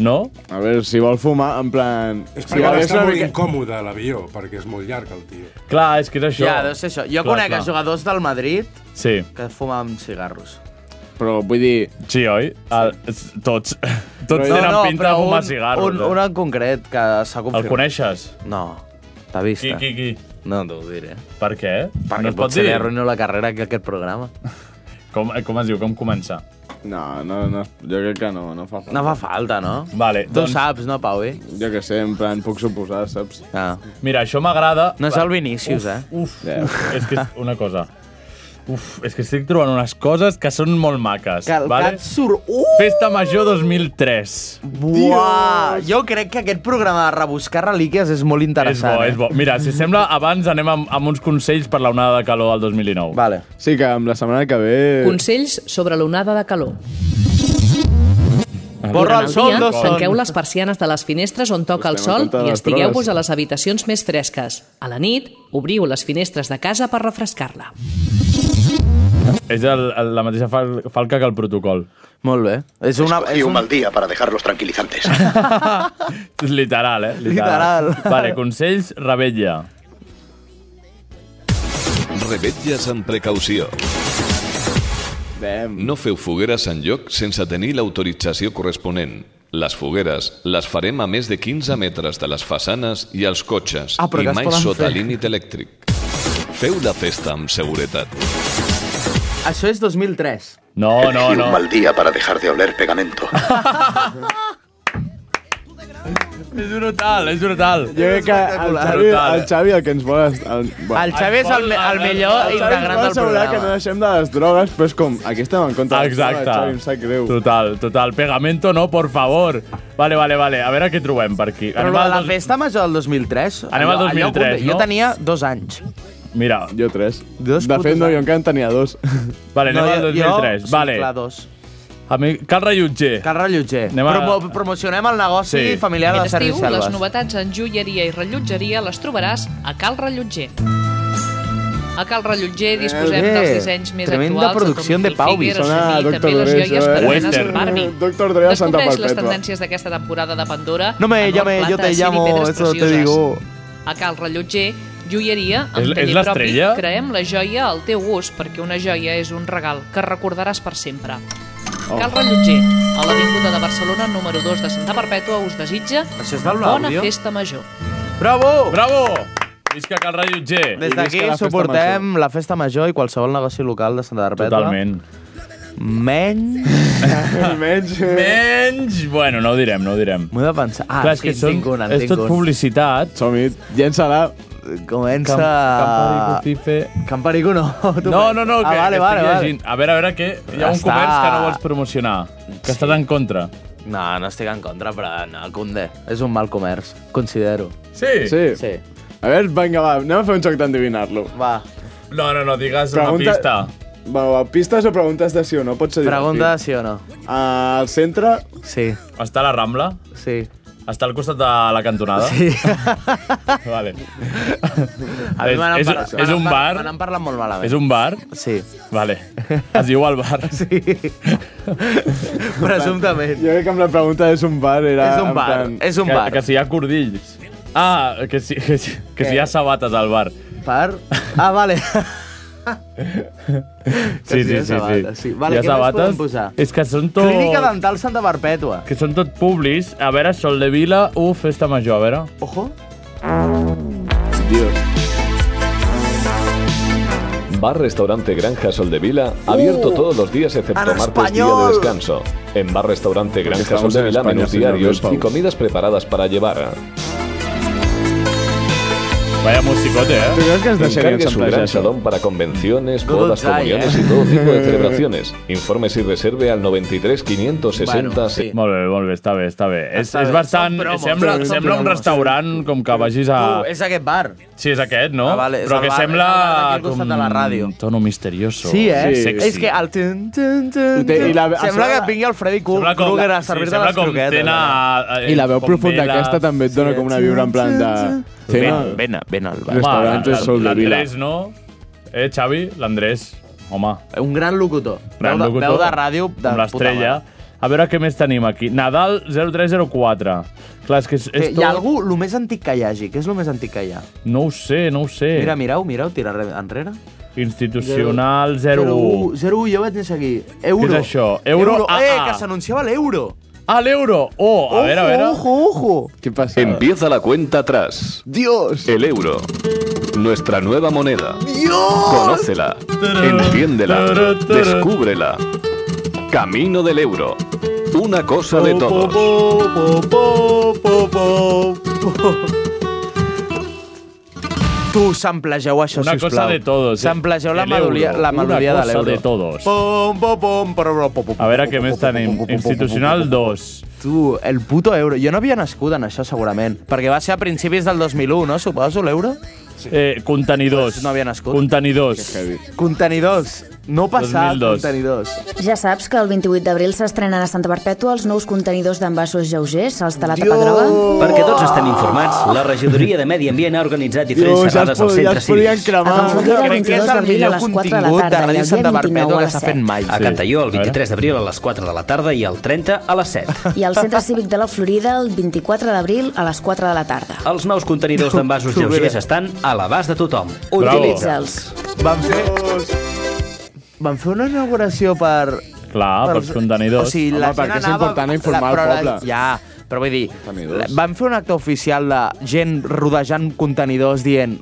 Speaker 3: No?
Speaker 9: A veure, si vol fumar, en plan...
Speaker 10: És
Speaker 9: si
Speaker 10: perquè
Speaker 9: vol-
Speaker 10: ara
Speaker 9: és
Speaker 10: està
Speaker 9: una
Speaker 10: molt
Speaker 9: mica-
Speaker 10: incòmode l'avió, perquè és molt llarg el tio.
Speaker 3: Clar, és que és això.
Speaker 4: Ja, deu ser això. Jo
Speaker 10: Clar,
Speaker 4: conec
Speaker 10: clar.
Speaker 4: a jugadors del Madrid
Speaker 3: Sí.
Speaker 4: que fumen cigarros.
Speaker 9: Però vull dir...
Speaker 3: Sí, oi? El, s- tots. Tots
Speaker 4: Però-
Speaker 3: tenen
Speaker 4: no, no,
Speaker 3: pinta
Speaker 4: però
Speaker 3: de fumar
Speaker 4: un-
Speaker 3: cigarros. eh.
Speaker 4: Un, un en concret que s'ha confirmat.
Speaker 3: coneixes?
Speaker 4: No, t'ha vist. eh?
Speaker 3: Qui, qui, qui?
Speaker 4: No, no ho diré.
Speaker 3: Per què?
Speaker 4: Perquè
Speaker 3: No es pot
Speaker 4: potser
Speaker 3: dir?
Speaker 4: li arruïno la carrera que aquest programa.
Speaker 3: Com, eh, com es diu? Com comença?
Speaker 9: No, no, no, jo crec que no, no fa falta.
Speaker 4: No fa falta, no?
Speaker 3: Vale,
Speaker 4: Tu
Speaker 3: doncs-
Speaker 4: saps, no, Pau? Eh?
Speaker 9: Jo que sé, en plan, puc suposar, saps?
Speaker 4: Ah.
Speaker 3: Mira, això m'agrada...
Speaker 4: No és el Vinícius,
Speaker 3: uf,
Speaker 4: eh?
Speaker 3: Uf, uf, és que és una cosa... Uf, és que estic trobant unes coses que són molt maques.
Speaker 4: Que el
Speaker 3: vale?
Speaker 4: cat surt... Uh!
Speaker 3: Festa Major 2003.
Speaker 4: Buah! Jo crec que aquest programa de rebuscar relíquies és molt interessant.
Speaker 9: eh?
Speaker 3: és bo, és bo. Mira, si sembla, abans anem amb, amb uns consells per l'onada de calor del 2019.
Speaker 4: eh? Vale.
Speaker 9: Sí, que amb la setmana que ve...
Speaker 12: Consells sobre l'onada de calor.
Speaker 9: Borra
Speaker 12: Durant
Speaker 9: el sol,
Speaker 12: dia,
Speaker 9: Oh, no son.
Speaker 12: Tanqueu les persianes de les finestres on toca el
Speaker 9: Estem a
Speaker 12: sol
Speaker 9: compte de
Speaker 12: i
Speaker 9: les
Speaker 12: estigueu-vos
Speaker 9: proves.
Speaker 12: a les habitacions més fresques. A la nit, obriu les finestres de casa per refrescar-la.
Speaker 3: És el, el, la mateixa fal, falca que el protocol.
Speaker 4: Molt bé. És
Speaker 3: una,
Speaker 13: Escogí un mal día para dejarlos tranquilizantes.
Speaker 3: És literal, eh?
Speaker 13: Literal.
Speaker 3: Vale, consells, rebetlla.
Speaker 14: Revetlles amb precaució. No feu fogueres en lloc sense tenir l'autorització corresponent. Les fogueres les farem a més de 15 metres de les façanes i els cotxes
Speaker 4: Ah, però
Speaker 14: i
Speaker 4: que es
Speaker 14: mai
Speaker 4: poden
Speaker 14: sota
Speaker 4: fer.
Speaker 14: límit elèctric. Feu la festa amb seguretat.
Speaker 4: Això és 2003.
Speaker 3: No, no,
Speaker 13: Escogí
Speaker 3: no.
Speaker 13: un mal día para dejar de oler pegamento.
Speaker 3: És brutal, és brutal.
Speaker 9: Jo crec que el Xavi, el
Speaker 3: eh?
Speaker 9: Xavi el que ens vol... est- El,
Speaker 4: El Xavi és el, me- el millor
Speaker 9: El Xavi ens
Speaker 4: integrant
Speaker 9: vol
Speaker 4: del
Speaker 9: assegurar que
Speaker 4: programa.
Speaker 9: no deixem de les drogues, però és com, aquí estem en contra de les drogues,
Speaker 3: Exacte.
Speaker 9: Xavi, em sap greu.
Speaker 3: Total, total. Pegamento no, por favor. Vale, vale, vale. A veure què trobem per aquí.
Speaker 4: Però
Speaker 3: Anem
Speaker 4: la,
Speaker 3: al
Speaker 4: la
Speaker 3: dos-
Speaker 4: festa major del 2003...
Speaker 3: Anem al 2003,
Speaker 4: jo
Speaker 3: no?
Speaker 4: tenia dos anys.
Speaker 3: Mira.
Speaker 9: Jo tres.
Speaker 4: Dos
Speaker 9: de fet,
Speaker 4: putos
Speaker 9: no, jo
Speaker 4: anys.
Speaker 9: encara en tenia dos.
Speaker 3: Vale, anem al 2003.
Speaker 4: Jo,
Speaker 3: vale.
Speaker 4: Sí, clar, dos.
Speaker 3: A mi, cal rellotger.
Speaker 4: Cal rellotger.
Speaker 3: Anem a...
Speaker 4: Promo promocionem el negoci
Speaker 3: Sí.
Speaker 4: sí. familiar de
Speaker 12: Aquest
Speaker 4: Sergi
Speaker 12: estiu, les
Speaker 4: Selves.
Speaker 12: novetats en joieria i rellotgeria les trobaràs a Cal Rellotger. A Cal Rellotger disposem
Speaker 4: Eh,
Speaker 12: dels dissenys més
Speaker 4: tremenda
Speaker 12: actuals
Speaker 4: producció
Speaker 12: de
Speaker 4: de Pau
Speaker 12: Tom Hilfiger,
Speaker 4: Bisson.
Speaker 12: Sony,
Speaker 4: Sona
Speaker 12: també
Speaker 4: Dr.
Speaker 12: les
Speaker 4: Dre,
Speaker 12: joies
Speaker 4: això, eh?
Speaker 12: permenes per
Speaker 4: Western.
Speaker 12: Barbie.
Speaker 9: Dr. Dre de Santa
Speaker 12: Descobreix les
Speaker 9: Perpètua.
Speaker 12: tendències d'aquesta temporada de Pandora
Speaker 4: No me
Speaker 12: en or,
Speaker 4: llame, yo
Speaker 12: plata,
Speaker 4: te
Speaker 12: ciri i
Speaker 4: llamo,
Speaker 12: pedres
Speaker 4: eso te
Speaker 12: precioses.
Speaker 4: digo.
Speaker 12: A Cal Rellotger, joieria amb
Speaker 3: És- és
Speaker 12: taller propi,
Speaker 3: l'estrella?
Speaker 12: creem la joia al teu gust, perquè una joia és un regal que recordaràs per sempre.
Speaker 3: Oh.
Speaker 12: Cal Rellotger, a l'Avinguda de Barcelona, número 2 de Santa Perpètua, us desitja
Speaker 4: Això és del
Speaker 12: bona
Speaker 4: Blaudio?
Speaker 12: festa major.
Speaker 4: Bravo!
Speaker 3: Bravo! Visca Cal Rellotger.
Speaker 4: Des d'aquí suportem la festa major i qualsevol negoci local de Santa Perpètua.
Speaker 3: Totalment.
Speaker 4: Menys...
Speaker 9: Menys...
Speaker 3: Menys... Bueno, no ho direm, no ho direm.
Speaker 4: M'ho he de pensar. Ah,
Speaker 3: Clar, és
Speaker 4: sí,
Speaker 3: que
Speaker 4: en
Speaker 3: són-
Speaker 4: tinc un, en
Speaker 3: és
Speaker 4: tinc
Speaker 3: tot
Speaker 4: un.
Speaker 3: publicitat.
Speaker 9: Som-hi, llença-la.
Speaker 4: Comença... Camparico no. tu
Speaker 3: No,
Speaker 4: pensa.
Speaker 3: no, no, que,
Speaker 4: ah, vale, vale,
Speaker 3: que estic
Speaker 4: vale.
Speaker 3: llegint. A veure, a veure, que hi ha un
Speaker 4: Està-
Speaker 3: comerç que no vols promocionar, que estàs en contra.
Speaker 4: No, no estic en contra, però no, Cundé. És un mal comerç, considero.
Speaker 3: Sí?
Speaker 9: Sí?
Speaker 4: Sí.
Speaker 9: A veure, vinga, va, anem a fer un joc d'endevinar-lo.
Speaker 4: Va.
Speaker 3: No, no, no, digues
Speaker 9: Pregunta-
Speaker 3: una pista.
Speaker 9: Va, va, pistes o preguntes de sí o no? Pot ser
Speaker 3: Pregunta
Speaker 4: de sí o no.
Speaker 9: Al centre...
Speaker 4: Sí.
Speaker 3: Està a la Rambla?
Speaker 4: Sí.
Speaker 3: Està al costat de la cantonada? Sí. vale.
Speaker 4: A mi
Speaker 3: És-
Speaker 4: me n'han
Speaker 3: és-
Speaker 4: parlat-
Speaker 3: és
Speaker 4: me n'han
Speaker 3: un
Speaker 4: parlat-
Speaker 3: bar?
Speaker 4: Me n'han parlat molt malament.
Speaker 3: És un bar?
Speaker 4: Sí.
Speaker 3: Vale. Es diu el bar.
Speaker 4: Sí. Presumptament.
Speaker 9: Jo crec que amb la pregunta és un bar era...
Speaker 4: És un
Speaker 9: en
Speaker 4: bar, és un
Speaker 3: que,
Speaker 4: bar.
Speaker 3: Que si hi ha cordills. Ah, que si, que si, que si hi ha sabates al bar.
Speaker 4: Per... Ah, vale.
Speaker 3: Sí,
Speaker 4: si hi
Speaker 3: sí,
Speaker 4: ha
Speaker 3: sí,
Speaker 4: sabates,
Speaker 3: sí.
Speaker 4: sí. Vale,
Speaker 3: Hi ha
Speaker 4: què més
Speaker 3: sabates?
Speaker 4: podem posar?
Speaker 3: És que són tot...
Speaker 4: Clínica dental Santa Perpètua.
Speaker 3: Que són tot publis. A veure, Sol de Vila, u, festa major, a veure.
Speaker 4: Ojo.
Speaker 9: Dios.
Speaker 14: Bar Restaurante Granja Soldevila, abierto
Speaker 4: Uh,
Speaker 14: todos los días excepto
Speaker 4: en
Speaker 14: martes día
Speaker 4: español.
Speaker 14: de descanso. En Bar Restaurante Granja
Speaker 9: estamos en
Speaker 14: Soldevila
Speaker 9: España,
Speaker 14: menús
Speaker 9: señor
Speaker 14: diarios
Speaker 9: Bilbao.
Speaker 14: y comidas preparadas para llevar.
Speaker 3: Vaya musicote, eh?
Speaker 9: ¿Tú crees que es de serie en
Speaker 14: Encargue su
Speaker 9: Santa
Speaker 14: gran
Speaker 9: Teresa?
Speaker 14: salón para convenciones,
Speaker 9: Good
Speaker 14: bodas,
Speaker 9: old guy,
Speaker 14: comuniones
Speaker 9: eh?
Speaker 14: y todo tipo de celebraciones. Informes y reserve al 93 560
Speaker 3: Molt bé, molt bé, està bé, està bé. és,
Speaker 14: Està
Speaker 3: és
Speaker 14: bé,
Speaker 3: bastant...
Speaker 14: són promos,
Speaker 3: sembla,
Speaker 14: són
Speaker 3: sembla un
Speaker 14: promos.
Speaker 3: restaurant com que vagis a...
Speaker 4: Tu, és aquest bar.
Speaker 3: Sí, és aquest, no?
Speaker 4: Ah, vale, és
Speaker 3: Però
Speaker 4: el
Speaker 3: que
Speaker 4: bar-
Speaker 3: sembla
Speaker 4: és el bar d'aquí al costat de la ràdio.
Speaker 3: un tono misterioso.
Speaker 4: Sí, eh?
Speaker 3: Sexy.
Speaker 4: És que el... Tun, tun, tun,
Speaker 9: I té- i la-
Speaker 4: tun. Sembla que vingui el Freddy
Speaker 3: Sembla com-
Speaker 4: Krueger a
Speaker 3: sí,
Speaker 4: servir-te
Speaker 3: sembla
Speaker 4: les
Speaker 3: com
Speaker 4: croquetes.
Speaker 3: cena, eh,
Speaker 9: I la veu
Speaker 3: com
Speaker 9: profunda
Speaker 3: veles.
Speaker 9: aquesta també et dona com una vibra en plan de...
Speaker 4: Ven, ven, ven al bar.
Speaker 9: Restaurante
Speaker 3: Home,
Speaker 9: Sol de Vila.
Speaker 3: L'Andrés, no? Eh, Xavi? L'Andrés. Home.
Speaker 4: Un gran locutor.
Speaker 3: Gran
Speaker 4: veu, de,
Speaker 3: locutor.
Speaker 4: veu de ràdio de
Speaker 3: Amb l'estrella.
Speaker 4: puta
Speaker 3: A veure què més tenim aquí. Nadal 0304. Clar, és que és, és
Speaker 4: Esto... Hi ha algú, el més antic que hi hagi, què és el més antic que hi ha?
Speaker 3: No ho sé, no ho sé.
Speaker 4: Mira, mireu, mireu, tira re- enrere.
Speaker 3: Institucional 01.
Speaker 4: 01, jo vaig néixer aquí. Euro.
Speaker 3: Què és això? Euro AA.
Speaker 4: Eh, que s'anunciava l'euro.
Speaker 3: Ah, l'euro. Oh,
Speaker 4: a
Speaker 3: veure, a veure.
Speaker 4: Ojo, ojo.
Speaker 9: ¿Qué pasa?
Speaker 14: Empieza la cuenta atrás.
Speaker 9: ¡Dios!
Speaker 14: El euro. Nuestra nueva moneda.
Speaker 9: ¡Dios!
Speaker 14: Conócela. Entiéndela. Descúbrela. Camino del euro. Una cosa de todos.
Speaker 4: Tu, samplegeu això,
Speaker 3: Una
Speaker 4: sisplau.
Speaker 3: cosa de todos, eh?
Speaker 4: Samplegeu la
Speaker 3: El euro.
Speaker 4: melodia, la
Speaker 3: Una
Speaker 4: melodia de
Speaker 3: cosa
Speaker 4: l'euro.
Speaker 3: de todos.
Speaker 4: Pom, pom, pom, pom, pom, pom, pom,
Speaker 3: A veure què més tenim. Institucional 2.
Speaker 4: Tu, el puto euro. Jo no havia nascut en això, segurament. Perquè va ser a principis del 2001, no? Suposo, l'euro?
Speaker 3: Eh, contenidors.
Speaker 4: No havia nascut.
Speaker 3: Contenidors.
Speaker 4: Contenidors. No passar
Speaker 3: 2002.
Speaker 4: contenidors.
Speaker 7: Ja saps que el 28 d'abril s'estrenen a Santa Perpètua els nous contenidors d'envasos lleugers, els de la tapa groga.
Speaker 15: Perquè tots estem informats, la regidoria de Medi Ambient ha organitzat diferents
Speaker 4: Dios, ja es
Speaker 15: xerrades al
Speaker 4: po- ja
Speaker 15: centre
Speaker 4: es podien
Speaker 15: cívic.
Speaker 4: cremar. A Valfogona, el
Speaker 15: Crec que és
Speaker 4: 22
Speaker 15: el
Speaker 4: d'abril a
Speaker 15: millor
Speaker 4: les 4 de la
Speaker 15: contingut
Speaker 4: tarda,
Speaker 15: de
Speaker 4: i
Speaker 15: Ràdio
Speaker 4: el dia
Speaker 15: Santa
Speaker 4: 29
Speaker 15: Barbeta
Speaker 4: a
Speaker 15: que
Speaker 4: les
Speaker 15: s'ha
Speaker 4: set.
Speaker 15: fet mai. A
Speaker 4: Sí.
Speaker 15: Cantalló el 23 d'abril a les 4 de la tarda i el 30 a les 7.
Speaker 7: I al Centre Cívic de la Florida el 24 d'abril a les 4 de la tarda.
Speaker 15: Els nous contenidors d'envasos lleugers estan a l'abast de tothom.
Speaker 3: Oh.
Speaker 7: Utilitza'ls.
Speaker 4: Vam fer... Vam fer una inauguració per...
Speaker 3: Clar, Ah, pels contenidors.
Speaker 4: O sigui,
Speaker 3: Home,
Speaker 4: la gent
Speaker 3: perquè és
Speaker 4: anava-
Speaker 3: important informar
Speaker 4: la-
Speaker 3: el
Speaker 4: però la-
Speaker 3: poble.
Speaker 4: Ja, però vull dir, van fer un acte oficial de gent rodejant contenidors dient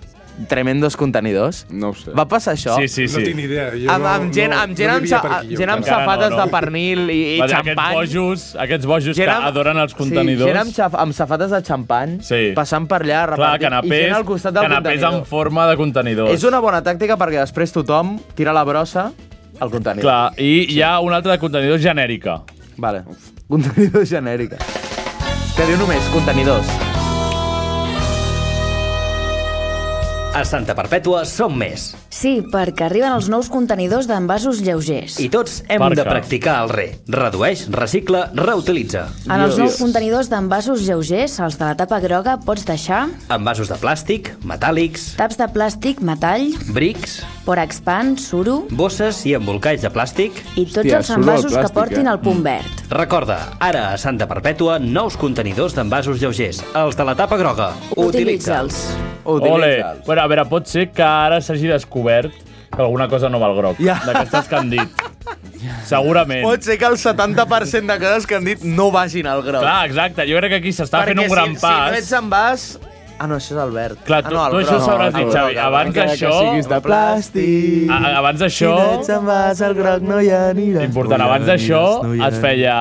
Speaker 4: tremendos contenidors?
Speaker 9: No ho sé.
Speaker 4: Va passar això?
Speaker 3: Sí, sí, sí. No tinc ni idea, jo
Speaker 4: Amb,
Speaker 3: no-
Speaker 4: amb gent,
Speaker 3: no-
Speaker 4: amb, gent,
Speaker 3: no
Speaker 4: amb,
Speaker 3: vivia
Speaker 4: sa-
Speaker 3: per aquí, jo,
Speaker 4: gent amb
Speaker 3: encara.
Speaker 4: safates
Speaker 3: No, no.
Speaker 4: de pernil i, i
Speaker 3: Va dir,
Speaker 4: xampany.
Speaker 3: Aquests bojos, aquests bojos que
Speaker 4: Gent amb-
Speaker 3: adoren els contenidors.
Speaker 4: Sí, gent amb, xaf- amb safates de xampany,
Speaker 3: Sí.
Speaker 4: passant per allà,
Speaker 3: Clar,
Speaker 4: repartint,
Speaker 3: canapés,
Speaker 4: i gent al costat del
Speaker 3: canapés
Speaker 4: contenidor.
Speaker 3: en forma de contenidors.
Speaker 4: És una bona tàctica perquè després tothom tira la brossa al contenidor.
Speaker 3: Clar, i hi ha una altra de contenidors genèrica.
Speaker 4: Vale. Contenidor genèrica. Que diu només contenidors.
Speaker 15: A Santa Perpètua som més.
Speaker 7: Sí, perquè arriben els nous contenidors d'envasos lleugers.
Speaker 15: I tots hem
Speaker 7: Parca.
Speaker 15: de practicar el re. Redueix, recicla, reutilitza.
Speaker 7: En els nous contenidors d'envasos lleugers, els de la tapa groga, pots deixar
Speaker 15: Envasos de plàstic, metàl·lics,
Speaker 7: taps de plàstic, metall,
Speaker 15: brics,
Speaker 7: porexpan, suro
Speaker 15: bosses i embolcalls de plàstic.
Speaker 7: i tots els envasos que portin el punt verd.
Speaker 15: Recorda, ara a Santa Perpètua, nous contenidors d'envasos lleugers. Els de la tapa groga. Utilitza'ls.
Speaker 3: Ole. Bueno, a veure, pot ser que ara s'hagi descobert que alguna cosa no va al groc. Ja. D'aquestes que han dit. Segurament.
Speaker 4: Pot ser que el 70% de coses que han dit no vagin al groc.
Speaker 3: Clar, exacte. Jo crec que aquí s'està fent un gran
Speaker 4: si,
Speaker 3: pas.
Speaker 4: si no ets en vas... Ah, no, això és el verd.
Speaker 3: Clar, tu,
Speaker 4: ah, no,
Speaker 3: tu això ho sabràs dir, Xavi. Abans Ah, d'això...
Speaker 4: plàstic...
Speaker 3: A- a- Abans d'això...
Speaker 4: Si no ets en vas al groc no hi aniràs.
Speaker 3: Important,
Speaker 4: No hi
Speaker 3: abans d'això
Speaker 4: aniràs, no hi
Speaker 3: es feia,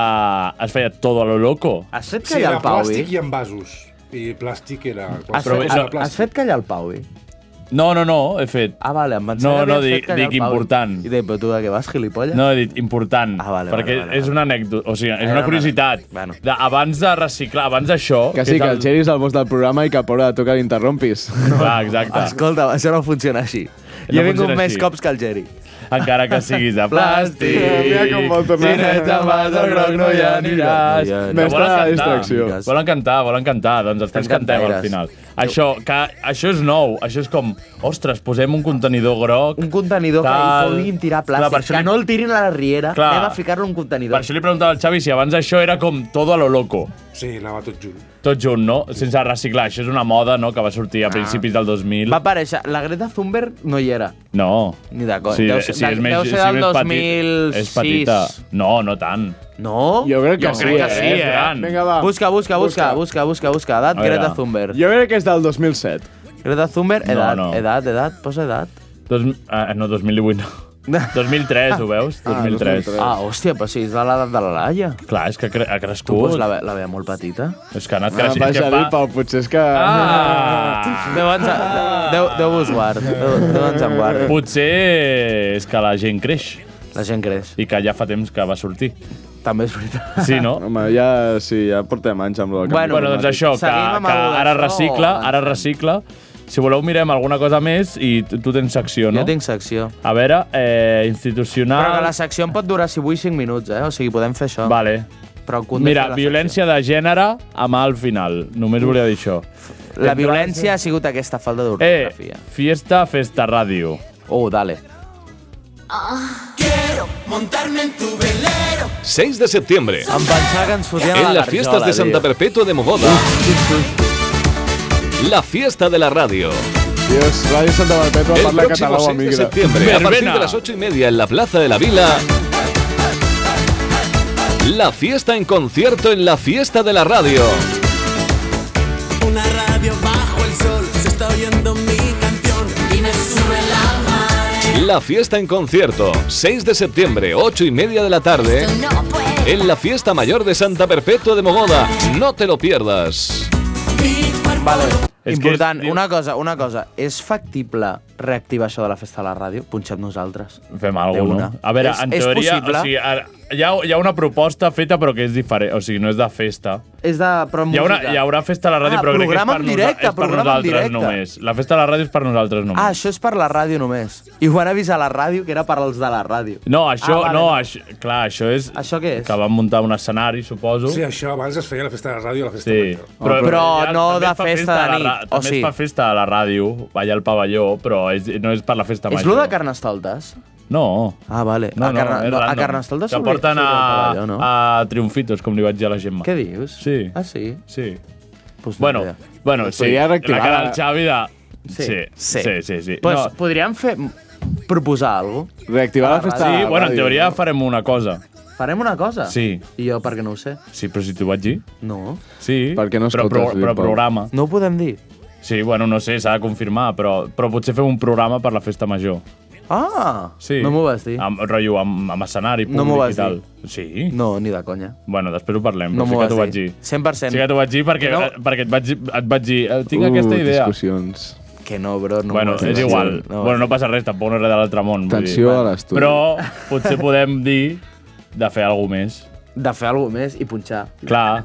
Speaker 3: es feia todo lo loco.
Speaker 4: Has fet
Speaker 10: Sí,
Speaker 4: callar
Speaker 10: era
Speaker 4: el Pau,
Speaker 10: plàstic
Speaker 4: eh?
Speaker 10: i envasos. I plàstic era...
Speaker 4: Has,
Speaker 3: Però
Speaker 4: fet,
Speaker 3: això-
Speaker 4: has, has fet callar el Pau, eh?
Speaker 3: No, no, no, he fet.
Speaker 4: Ah, vale, em pensava
Speaker 3: No,
Speaker 4: que
Speaker 3: no,
Speaker 4: havies fet
Speaker 3: dic,
Speaker 4: callar
Speaker 3: dic
Speaker 4: el Pau.
Speaker 3: important.
Speaker 4: I deia, però tu de què vas, gilipolles?
Speaker 3: No, he dit important, ah,
Speaker 4: vale,
Speaker 3: vale, perquè
Speaker 4: vale,
Speaker 3: és una anècdota, o sigui, és
Speaker 4: Era
Speaker 3: una
Speaker 4: una
Speaker 3: curiositat. Bueno. De, abans de reciclar, abans d'això...
Speaker 9: Que sí,
Speaker 3: és
Speaker 9: que el Xeri és el boss del programa i que pobre de tu que l'interrompis.
Speaker 3: Clar, exacte.
Speaker 4: Escolta, això no funciona així.
Speaker 3: No
Speaker 4: Jo he vingut
Speaker 3: funciona
Speaker 4: més
Speaker 3: així.
Speaker 4: cops que el Geri.
Speaker 3: Encara que siguis de plàstic.
Speaker 4: Mira com vol tornar.
Speaker 3: Si no ets en vas al groc no hi aniràs.
Speaker 9: No hi aniràs.
Speaker 3: No,
Speaker 9: Mestre
Speaker 3: volen
Speaker 9: de
Speaker 3: cantar.
Speaker 9: distracció.
Speaker 3: Volen cantar, volen cantar. Doncs els tres cantem al
Speaker 9: cantaires.
Speaker 3: final. Això, que, això és nou. Això és com, ostres, posem un contenidor groc. Un
Speaker 4: contenidor que hi puguin tirar plàstic, que no el tirin a la riera,
Speaker 3: Clar.
Speaker 4: anem a ficar-lo en un
Speaker 3: Per
Speaker 4: contenidor.
Speaker 3: això li preguntava al Xavi si abans això era com todo a lo loco.
Speaker 10: Sí, anava tot junt.
Speaker 3: Tot junt, no? Sense reciclar. Això és una moda, no?, que va sortir a principis del 2000.
Speaker 4: Ah. Va aparèixer, la Greta Thunberg no hi era.
Speaker 3: No.
Speaker 4: Ni d'acord.
Speaker 3: Sí,
Speaker 4: Deu
Speaker 3: si
Speaker 4: ser-
Speaker 3: és
Speaker 4: deu
Speaker 3: més,
Speaker 4: ser
Speaker 3: si
Speaker 4: del
Speaker 3: més Petit,
Speaker 4: 2006.
Speaker 3: és petita. No, no tant.
Speaker 4: No?
Speaker 9: Jo crec que
Speaker 3: Jo crec
Speaker 9: sí,
Speaker 3: que sí,
Speaker 9: eh?
Speaker 3: eh?
Speaker 9: Gran. Vinga, va.
Speaker 4: Busca, busca, busca, busca, busca, busca. Edat,
Speaker 9: A veure.
Speaker 4: Greta Thunberg.
Speaker 9: Jo crec que és del 2007.
Speaker 4: Greta Thunberg,
Speaker 3: No,
Speaker 4: edat,
Speaker 3: no.
Speaker 4: edat, edat, posa edat.
Speaker 3: Dos, eh, no, 2018 no. 2003, ho veus? 2003.
Speaker 9: Eh.
Speaker 4: Ah, hòstia, però sí, és de l'edat de la Laia.
Speaker 3: Clar, és que cre ha
Speaker 4: Tu
Speaker 3: crescut.
Speaker 4: pues, la, ve- la veia molt petita.
Speaker 3: És que ha anat
Speaker 9: Ah,
Speaker 3: creixent.
Speaker 9: vaja,
Speaker 3: és que
Speaker 9: dir, Pau, potser és que...
Speaker 3: Ah!
Speaker 4: Déu ens, Déu, Déu us guard. Déu, Déu ens en guard.
Speaker 3: Potser és que la gent creix.
Speaker 4: La gent creix.
Speaker 3: I que ja fa temps que va sortir.
Speaker 4: També és veritat.
Speaker 3: Sí, no?
Speaker 9: Home, ja, sí, ja portem anys amb el canvi
Speaker 3: Bueno, bueno doncs això, que,
Speaker 9: climàtic.
Speaker 3: que ara recicla, ara recicla. Si voleu, mirem alguna cosa més i tu, tu tens secció, no?
Speaker 4: Jo tinc secció.
Speaker 3: A veure, eh,
Speaker 4: Però que
Speaker 3: institucional...
Speaker 4: la secció em pot durar, si vull, 5 minuts, eh? O sigui, podem fer això.
Speaker 3: Vale.
Speaker 4: Però el context
Speaker 3: Mira,
Speaker 4: de la
Speaker 3: violència de gènere amb A al final. Només volia dir això.
Speaker 4: La violència ha sigut aquesta falta d'ortografia.
Speaker 3: Eh, fiesta, festa, ràdio.
Speaker 4: Oh, dale.
Speaker 8: Quiero montarme en tu velero
Speaker 14: 6 de septiembre.
Speaker 4: Em pensava que ens fotien a
Speaker 14: En
Speaker 4: la
Speaker 14: las fiestas de
Speaker 4: garjola,
Speaker 14: Santa
Speaker 4: tio.
Speaker 14: Perpetua de Mogoda. La fiesta de la radio.
Speaker 9: Dios, Radio Santa Perpetua
Speaker 14: El
Speaker 9: parla
Speaker 14: próximo
Speaker 9: català
Speaker 14: 6
Speaker 9: o
Speaker 14: de
Speaker 9: amigra.
Speaker 14: septiembre, a partir de las 8 y media en la Plaza de la Vila. La fiesta en concierto en la fiesta de la radio.
Speaker 8: Una radio bajo el sol, se está oyendo mi canción y me sube la marea.
Speaker 14: La fiesta en concierto, 6 de septiembre, 8 y media de la tarde. En la fiesta mayor de Santa Perpetua de Mogoda. No te lo pierdas.
Speaker 4: Vale.
Speaker 14: És que-
Speaker 4: Important, una cosa, una cosa. És factible reactivar això de la festa de la ràdio? Punxem nosaltres.
Speaker 3: Fem alguna cosa, no? A veure,
Speaker 4: és,
Speaker 3: en teoria,
Speaker 4: És possible.
Speaker 3: o sigui, ara, hi, ha, hi ha una proposta feta però que és diferent, o sigui, no és de festa.
Speaker 4: és de... Però amb
Speaker 3: Hi haurà,
Speaker 4: música.
Speaker 3: hi haurà festa a la ràdio,
Speaker 4: ah,
Speaker 3: però crec que és
Speaker 4: programa
Speaker 3: per,
Speaker 4: en directe,
Speaker 3: nosa és per
Speaker 4: programa en
Speaker 3: nosaltres
Speaker 4: directe.
Speaker 3: només. La festa a la ràdio és per nosaltres només.
Speaker 4: Ah, això és per la ràdio només. I ho van avisar a la ràdio, que era per als de la ràdio.
Speaker 3: No, això,
Speaker 4: Ah, vale,
Speaker 3: no,
Speaker 4: no.
Speaker 3: això, clar, això és...
Speaker 4: Això què és?
Speaker 3: Que van muntar un escenari, suposo.
Speaker 10: Sí, això abans es feia la festa de la ràdio i la festa
Speaker 3: Sí.
Speaker 10: major.
Speaker 4: Però- però
Speaker 3: ja
Speaker 4: no
Speaker 3: també
Speaker 4: de
Speaker 3: es fa
Speaker 4: festa de
Speaker 3: a la ra-
Speaker 4: nit, o
Speaker 3: També
Speaker 4: sí.
Speaker 3: es fa festa a la ràdio, allà al pavelló, però és, no és per la festa
Speaker 4: És lo
Speaker 3: major.
Speaker 4: de Carnestoltes?
Speaker 3: No.
Speaker 4: Ah, vale.
Speaker 3: No,
Speaker 4: a,
Speaker 3: no,
Speaker 4: Carna-
Speaker 3: és
Speaker 4: no, a
Speaker 3: random.
Speaker 4: Carnestoltes
Speaker 3: Que
Speaker 4: s'obri-
Speaker 3: porten a,
Speaker 4: s'obri el pavelló, no?
Speaker 3: a triomfitos, com li vaig dir a la Gemma.
Speaker 4: Què dius?
Speaker 3: Sí.
Speaker 4: Ah, sí?
Speaker 3: Sí.
Speaker 4: Pues
Speaker 3: bueno, bueno,
Speaker 4: Pues
Speaker 3: sí.
Speaker 4: podria
Speaker 3: La
Speaker 4: reactivar
Speaker 3: cara
Speaker 4: la-
Speaker 3: del Xavi de... Sí, sí,
Speaker 4: sí.
Speaker 3: sí. sí, sí.
Speaker 4: Pues
Speaker 3: No,
Speaker 4: podríem fer... proposar alguna cosa.
Speaker 9: Reactivar
Speaker 4: la festa
Speaker 3: Sí,
Speaker 4: de la
Speaker 3: bueno, en
Speaker 4: ràdio,
Speaker 3: teoria
Speaker 4: no?
Speaker 3: farem una cosa.
Speaker 4: Farem una cosa?
Speaker 3: Sí.
Speaker 4: I jo, perquè no ho sé.
Speaker 3: Sí, però si t'ho vaig dir.
Speaker 4: No.
Speaker 3: Sí,
Speaker 9: Per què no
Speaker 3: però,
Speaker 9: escoltes,
Speaker 3: però, però
Speaker 9: Lluís Pol?
Speaker 3: programa.
Speaker 4: No ho podem dir.
Speaker 3: Sí, bueno, no sé, s'ha de confirmar, però, però potser fem un programa per la festa major.
Speaker 4: Ah!
Speaker 3: Sí.
Speaker 4: No m'ho vas dir.
Speaker 3: Amb, rotllo, amb, amb escenari, públic
Speaker 4: No m'ho vas
Speaker 3: i tal.
Speaker 4: dir.
Speaker 3: Sí?
Speaker 4: No, ni de conya.
Speaker 3: Bueno, després ho parlem.
Speaker 4: No
Speaker 3: però sí
Speaker 4: m'ho
Speaker 3: que t'ho
Speaker 4: vas
Speaker 3: vaig
Speaker 4: dir.
Speaker 3: dir.
Speaker 4: 100%.
Speaker 3: Sí que t'ho vaig dir perquè,
Speaker 4: Que no.
Speaker 3: eh, perquè et vaig, dir- et vaig dir eh, tinc aquesta idea.
Speaker 9: Discussions.
Speaker 4: Que no, bro. No
Speaker 3: Bueno,
Speaker 4: m'ho vas dir.
Speaker 3: és igual.
Speaker 4: No.
Speaker 3: bueno, no passa res, tampoc no és res de l'altre món. vull dir.
Speaker 9: Tensió a l'estudi.
Speaker 3: Però potser podem dir de fer alguna més.
Speaker 4: De fer alguna més i punxar.
Speaker 3: Clar,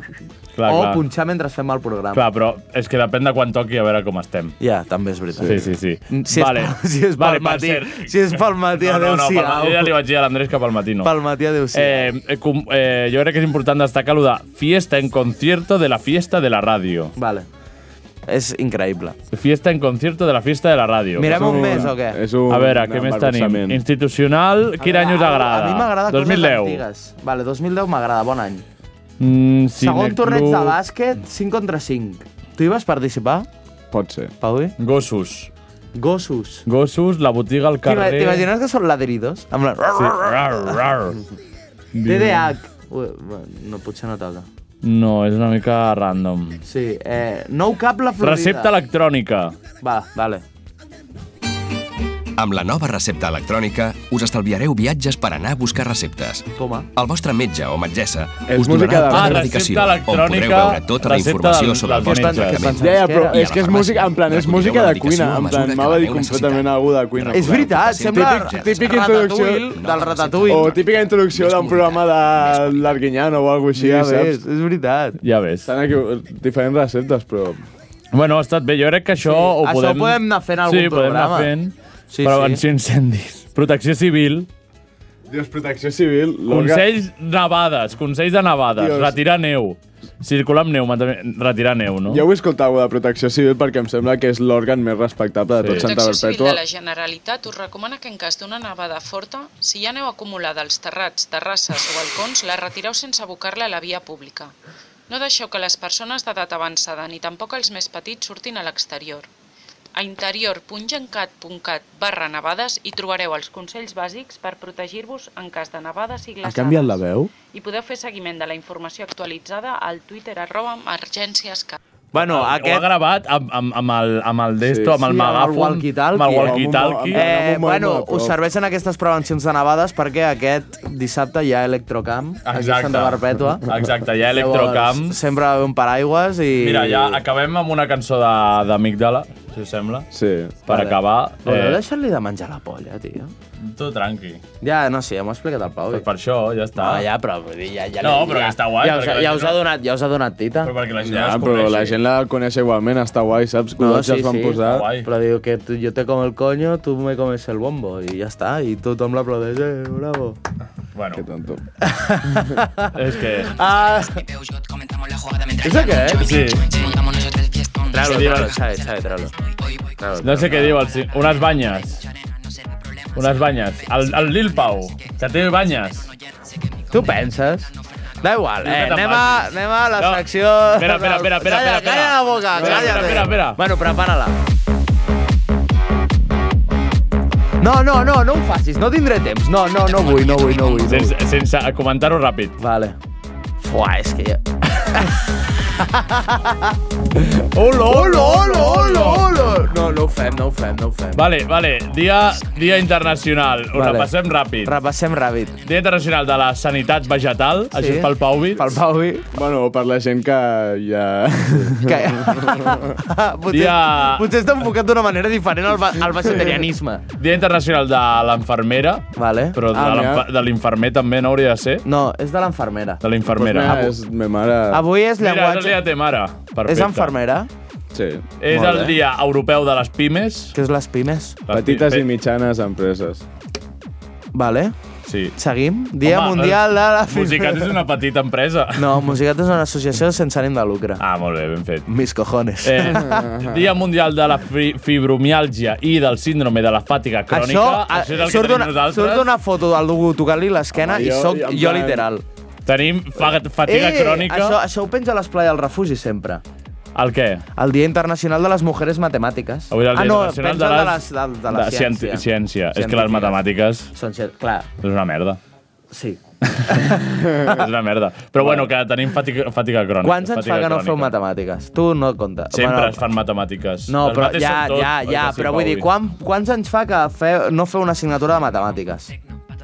Speaker 3: clar,
Speaker 4: o
Speaker 3: clar.
Speaker 4: punxar mentre fem el programa.
Speaker 3: Clar, però és que depèn de quan toqui a veure com estem.
Speaker 4: Ja, també és veritat.
Speaker 3: Sí, sí, sí.
Speaker 4: Si és pel- si és pel
Speaker 3: vale, per
Speaker 4: matí-
Speaker 3: cert.
Speaker 4: si és pel matí,
Speaker 3: no, no, no,
Speaker 4: adéu-siau.
Speaker 3: pel matí ja li vaig dir a l'Andrés que pel matí no.
Speaker 4: Pel matí, adéu-siau.
Speaker 3: Eh, eh, com, eh, jo crec que és important destacar lo de fiesta en concierto de la fiesta de la ràdio.
Speaker 4: Vale. És increïble.
Speaker 3: Fiesta en concierto de la fiesta de la ràdio.
Speaker 4: Mirem un mes o què?
Speaker 9: És un
Speaker 3: a veure, què més tenim?
Speaker 9: embarbussament.
Speaker 3: Institucional, quin any us agrada?
Speaker 4: A mi m'agrada coses
Speaker 3: 2010.
Speaker 4: antigues. Vale, 2010 m'agrada, bon any.
Speaker 3: Mm,
Speaker 4: Segon
Speaker 3: Cineclub.
Speaker 4: torneig de bàsquet, 5 contra 5. Tu hi vas participar?
Speaker 9: Pot ser.
Speaker 4: Paui?
Speaker 3: Gossos.
Speaker 4: Gossos.
Speaker 3: Gossos, la botiga al
Speaker 4: T'ima-
Speaker 3: carrer...
Speaker 4: T'imagines que són ladridos? Amb la...
Speaker 3: Sí. Rar, rar.
Speaker 4: DDH. Ui, no, potser no toca.
Speaker 3: No, és una mica random.
Speaker 4: Sí, eh, nou cap la Florida.
Speaker 3: Recepta electrònica.
Speaker 4: Va, vale.
Speaker 16: Amb la nova recepta electrònica us estalviareu viatges per anar a buscar receptes.
Speaker 4: Toma.
Speaker 16: El vostre metge o metgessa
Speaker 9: És
Speaker 16: us donarà
Speaker 9: música de-
Speaker 16: el
Speaker 9: Ah,
Speaker 16: pla de
Speaker 9: recepta
Speaker 16: medicació, on podreu
Speaker 9: electrònica,
Speaker 16: veure tota la
Speaker 9: recepta
Speaker 16: informació
Speaker 9: del-
Speaker 16: sobre el
Speaker 9: dels
Speaker 16: vostre
Speaker 9: metges.
Speaker 16: tractament.
Speaker 9: Ja, ja, però
Speaker 16: I a
Speaker 9: és
Speaker 16: la
Speaker 9: que és
Speaker 16: farmàcia
Speaker 9: música, en plan, és
Speaker 16: recollireu
Speaker 9: música
Speaker 16: la
Speaker 9: de
Speaker 16: medicació
Speaker 9: cuina,
Speaker 16: a
Speaker 9: en
Speaker 16: mesura
Speaker 9: plan,
Speaker 16: que
Speaker 9: m'ha de dir
Speaker 16: l'aneu
Speaker 9: completament algú de cuina.
Speaker 4: És veritat, sembla
Speaker 9: Típic, típic
Speaker 4: Ratatouille
Speaker 9: introducció
Speaker 4: del Ratatouille.
Speaker 9: O típica introducció d'un programa de l'Arguinyano o alguna cosa així,
Speaker 4: Ja
Speaker 9: ja
Speaker 4: ves,
Speaker 9: saps?
Speaker 4: és veritat.
Speaker 3: Ja ves.
Speaker 9: Estan aquí eh, diferents receptes, però...
Speaker 3: Bueno, ha estat bé. Jo crec que això ho
Speaker 4: això ho
Speaker 3: podem...
Speaker 4: podem anar fent algun
Speaker 3: sí,
Speaker 4: programa.
Speaker 3: Sí, podem anar fent.
Speaker 4: Sí,
Speaker 3: Prevenció sí. incendis. Protecció civil.
Speaker 9: Dios, protecció civil. Lorca.
Speaker 3: Consells nevades. Consells de nevades.
Speaker 9: Dios.
Speaker 3: Retirar neu. Circular amb neu. mantenir- Retirar neu, no?
Speaker 9: Jo vull escoltar alguna de protecció civil perquè em sembla que és l'òrgan més respectable de
Speaker 3: Sí.
Speaker 9: tot Santa
Speaker 12: Protecció Civil
Speaker 9: Perpètua.
Speaker 12: de la Generalitat us recomana que en cas d'una nevada forta, si hi ha neu acumulada als terrats, terrasses o balcons, la retireu sense abocar-la a la via pública. No deixeu que les persones d'edat avançada ni tampoc els més petits surtin a l'exterior. A interior.gencat.cat barra nevades hi trobareu els consells bàsics per protegir-vos en cas de nevades i
Speaker 9: Ha
Speaker 12: glaçades.
Speaker 9: canviat la veu?
Speaker 12: I podeu fer seguiment de la informació actualitzada al Twitter arroba emergènciescat.
Speaker 4: Bueno,
Speaker 3: Ho ha gravat amb, amb, amb, el, amb el desto, amb el
Speaker 4: Sí,
Speaker 3: megàfon,
Speaker 4: walkie-talkie.
Speaker 3: amb el walkie-talkie.
Speaker 4: Eh, bueno, us serveixen aquestes prevencions de nevades perquè aquest dissabte hi ha Electrocamp, aquí a
Speaker 3: Exacte.
Speaker 4: Santa Perpètua.
Speaker 3: Exacte, hi ha Electrocamp.
Speaker 4: Llavors, sempre va haver un paraigües i... Eh.
Speaker 3: Mira, ja acabem amb una cançó de- d'Amigdala, si us sembla.
Speaker 9: Sí.
Speaker 3: Per acabar,
Speaker 4: Voleu
Speaker 3: eh,
Speaker 4: deixar-li de menjar la polla, tio?
Speaker 3: Tu tranqui.
Speaker 4: Ja, no sé, ja m'ho ha explicat el Pau.
Speaker 3: Pues per això, ja està.
Speaker 4: No, Ah, ja, però vull dir, ja, ja
Speaker 3: No,
Speaker 4: li-
Speaker 3: però que està guai,
Speaker 4: Ja us,
Speaker 3: perquè la
Speaker 4: ja
Speaker 3: gent
Speaker 4: us ha
Speaker 3: no-
Speaker 4: donat, ja us ha donat tita. Però
Speaker 3: perquè la
Speaker 9: Ja, Ah, però la gent la coneix igualment, està guai, saps? No, sí, van posar.
Speaker 4: Però diu que tu, jo te com el coño, tu me comes el bombo. I ja està, i tothom l'aplaudeix, eh, bravo.
Speaker 3: Bueno.
Speaker 9: Que tonto.
Speaker 3: És que...
Speaker 4: Ah. ¿Eso qué es?
Speaker 3: Sí.
Speaker 4: Tráelo,
Speaker 3: Sí,
Speaker 4: tráelo,
Speaker 3: sí.
Speaker 4: sabe, sabe, tráelo. Tráelo,
Speaker 3: No
Speaker 4: tráelo.
Speaker 3: sé què diu, el, ci- unes banyes. Unes banyes. El, el Lil Pau, que té banyes.
Speaker 4: Tu penses? Da igual,
Speaker 3: Diu que
Speaker 4: eh?
Speaker 3: te'n
Speaker 4: Anem a,
Speaker 3: vas.
Speaker 4: anem a la
Speaker 3: No.
Speaker 4: secció...
Speaker 3: Espera, espera, espera, espera,
Speaker 4: Calla,
Speaker 3: espera.
Speaker 4: calla la boca,
Speaker 3: Espera,
Speaker 4: calla.
Speaker 3: espera, espera, espera.
Speaker 4: Bueno, prepara-la. No, no, no, no ho facis, no tindré temps. No, no, no vull, no vull, no vull.
Speaker 3: Sense, sense comentar-ho ràpid.
Speaker 4: Vale. Fuà, és que ja...
Speaker 3: Hola,
Speaker 4: hola, hola, hola, hola. No, no ho fem, no ho fem, no ho fem.
Speaker 3: Vale, vale. Dia, dia internacional. Ho
Speaker 4: Vale.
Speaker 3: vale. repassem ràpid.
Speaker 4: Repassem ràpid.
Speaker 3: Dia internacional de la sanitat vegetal. Sí. Això és pel Pauvi.
Speaker 4: Pel Pauvi.
Speaker 9: Bueno, per la gent que ja...
Speaker 4: Que... potser,
Speaker 3: Dia-
Speaker 4: potser està enfocat d'una manera diferent al, va- al vegetarianisme.
Speaker 3: Dia internacional de l'enfermera.
Speaker 4: Vale.
Speaker 3: Però de
Speaker 4: Ah, mira.
Speaker 3: l'enfa- de l'infermer també no hauria de ser.
Speaker 4: No, és de l'enfermera.
Speaker 3: De l'infermera.
Speaker 9: Pues mira, és me mare...
Speaker 4: Avui és
Speaker 3: Mira,
Speaker 4: llenguatge-
Speaker 3: és el dia de mare. Perfecte.
Speaker 4: És enfermera?
Speaker 9: Sí.
Speaker 3: És
Speaker 9: Molt
Speaker 3: el
Speaker 9: bé.
Speaker 3: dia europeu de les pimes.
Speaker 4: Què és les pimes?
Speaker 9: Petites i mitjanes empreses.
Speaker 4: Vale.
Speaker 3: Sí.
Speaker 4: Seguim. Dia Home, mundial de la...
Speaker 3: Musicat és una petita empresa.
Speaker 4: No, Musicat és una associació sense ànim de lucre.
Speaker 3: Ah, molt bé, ben fet.
Speaker 4: Mis cojones.
Speaker 3: Eh, Dia Mundial de la fi Fibromialgia i del síndrome de la fàtica crònica.
Speaker 4: a-
Speaker 3: Això és el
Speaker 4: eh,
Speaker 3: que
Speaker 4: surt
Speaker 3: tenim
Speaker 4: d'una-
Speaker 3: nosaltres.
Speaker 4: Surt d'una foto del Dugu tocant-li l'esquena
Speaker 3: Home,
Speaker 4: i
Speaker 3: jo-
Speaker 4: sóc
Speaker 3: jo
Speaker 4: jo,
Speaker 3: en plan-
Speaker 4: literal.
Speaker 3: Tenim fa fatiga crònica.
Speaker 4: Eh, Això, això ho penja a les playes del refugi sempre.
Speaker 3: El què?
Speaker 4: El Dia Internacional de les Mujeres Matemàtiques.
Speaker 3: Avui és el
Speaker 4: ah,
Speaker 3: Dia
Speaker 4: no,
Speaker 3: Internacional
Speaker 4: penja
Speaker 3: de
Speaker 4: el
Speaker 3: les-
Speaker 4: de, les, de, de la
Speaker 3: de
Speaker 4: ciència.
Speaker 3: cienti- ciència. És que les matemàtiques...
Speaker 4: Són cien... Clar.
Speaker 3: És una merda.
Speaker 4: Sí.
Speaker 3: és una merda. Però bueno, que tenim fatiga, fatiga crònica.
Speaker 4: Quants anys fa
Speaker 3: fatiga
Speaker 4: que no
Speaker 3: crònica.
Speaker 4: feu matemàtiques? Tu no compta.
Speaker 3: Sempre bueno, es fan matemàtiques.
Speaker 4: No,
Speaker 3: Les
Speaker 4: però
Speaker 3: mates
Speaker 4: ja,
Speaker 3: són tot,
Speaker 4: ja,
Speaker 3: oi
Speaker 4: ja,
Speaker 3: que sí,
Speaker 4: però vull dir,
Speaker 3: Pau?
Speaker 4: quan, quants anys fa que feu, no feu una assignatura de matemàtiques?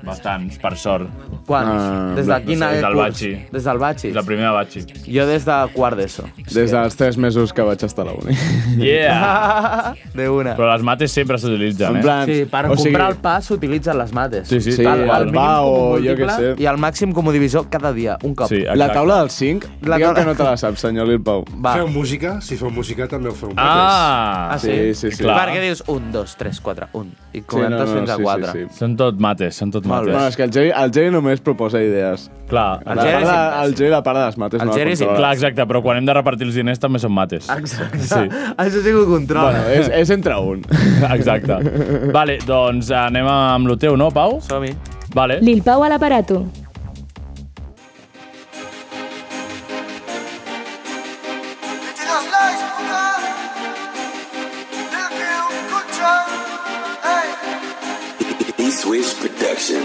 Speaker 3: Bastants, per sort.
Speaker 4: Quants?
Speaker 9: Ah,
Speaker 4: des de quin
Speaker 3: no sé, Des del
Speaker 4: curs?
Speaker 3: batxi.
Speaker 4: Des del batxi?
Speaker 3: Des del primer batxi.
Speaker 4: Jo des de quart d'ESO.
Speaker 9: Des dels tres mesos que vaig estar a la uni.
Speaker 4: Ah.
Speaker 3: Yeah!
Speaker 4: de una.
Speaker 3: Però les mates sempre s'utilitzen, eh?
Speaker 4: sí, per comprar el pa s'utilitzen les mates.
Speaker 3: Sí, sí, Sí, tal qual. el
Speaker 4: mínim
Speaker 3: pa
Speaker 9: o
Speaker 4: comú
Speaker 9: jo què
Speaker 4: múltiple
Speaker 9: sé.
Speaker 4: I el màxim comodivisor cada dia, un cop.
Speaker 9: la taula del 5?
Speaker 4: La
Speaker 9: La Digueu
Speaker 4: taula-
Speaker 9: que no te la saps, senyor Lil Pau.
Speaker 4: Va.
Speaker 10: Feu música? Si feu música també ho feu
Speaker 3: Ah!
Speaker 9: sí, sí, sí.
Speaker 4: Perquè dius 1, 2, 3, 4, 1. I comentes fins a 4.
Speaker 3: Són tot mates, són tot mates.
Speaker 9: Bueno, és que el Jerry, el Jerry només proposa idees.
Speaker 3: Clar,
Speaker 4: Ah,
Speaker 9: El la part de, el Jerry, la part de les mates, no la controla.
Speaker 3: Clar, exacte, però quan hem de repartir els diners també són mates.
Speaker 4: Ah. Exacte.
Speaker 3: Sí.
Speaker 4: Això sí que ho controla.
Speaker 9: Bueno, és, és entre un.
Speaker 3: Exacte. Vale, doncs anem amb lo teu, no, Pau?
Speaker 4: Som-hi.
Speaker 3: Vale.
Speaker 1: Lil Pau a l'aparato.
Speaker 17: Switch Production.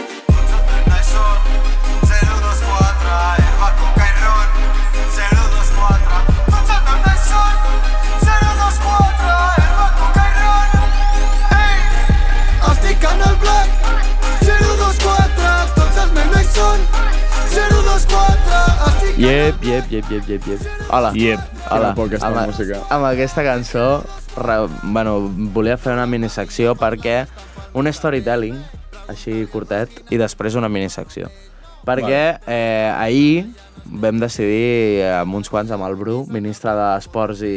Speaker 8: Estic en el black 024 Tots els meus nois són 024 Estic
Speaker 4: Yep, yep, yep, yep, yep, yep. Hola.
Speaker 3: Yep.
Speaker 4: Hola.
Speaker 9: Quina por que està la
Speaker 4: amb,
Speaker 9: música.
Speaker 4: amb aquesta cançó, re, bueno, volia fer una minisecció perquè un storytelling, així curtet, i després una minisecció. Perquè eh, ahir vam decidir, eh, amb uns quants, amb el Bru, ministre d'Esports i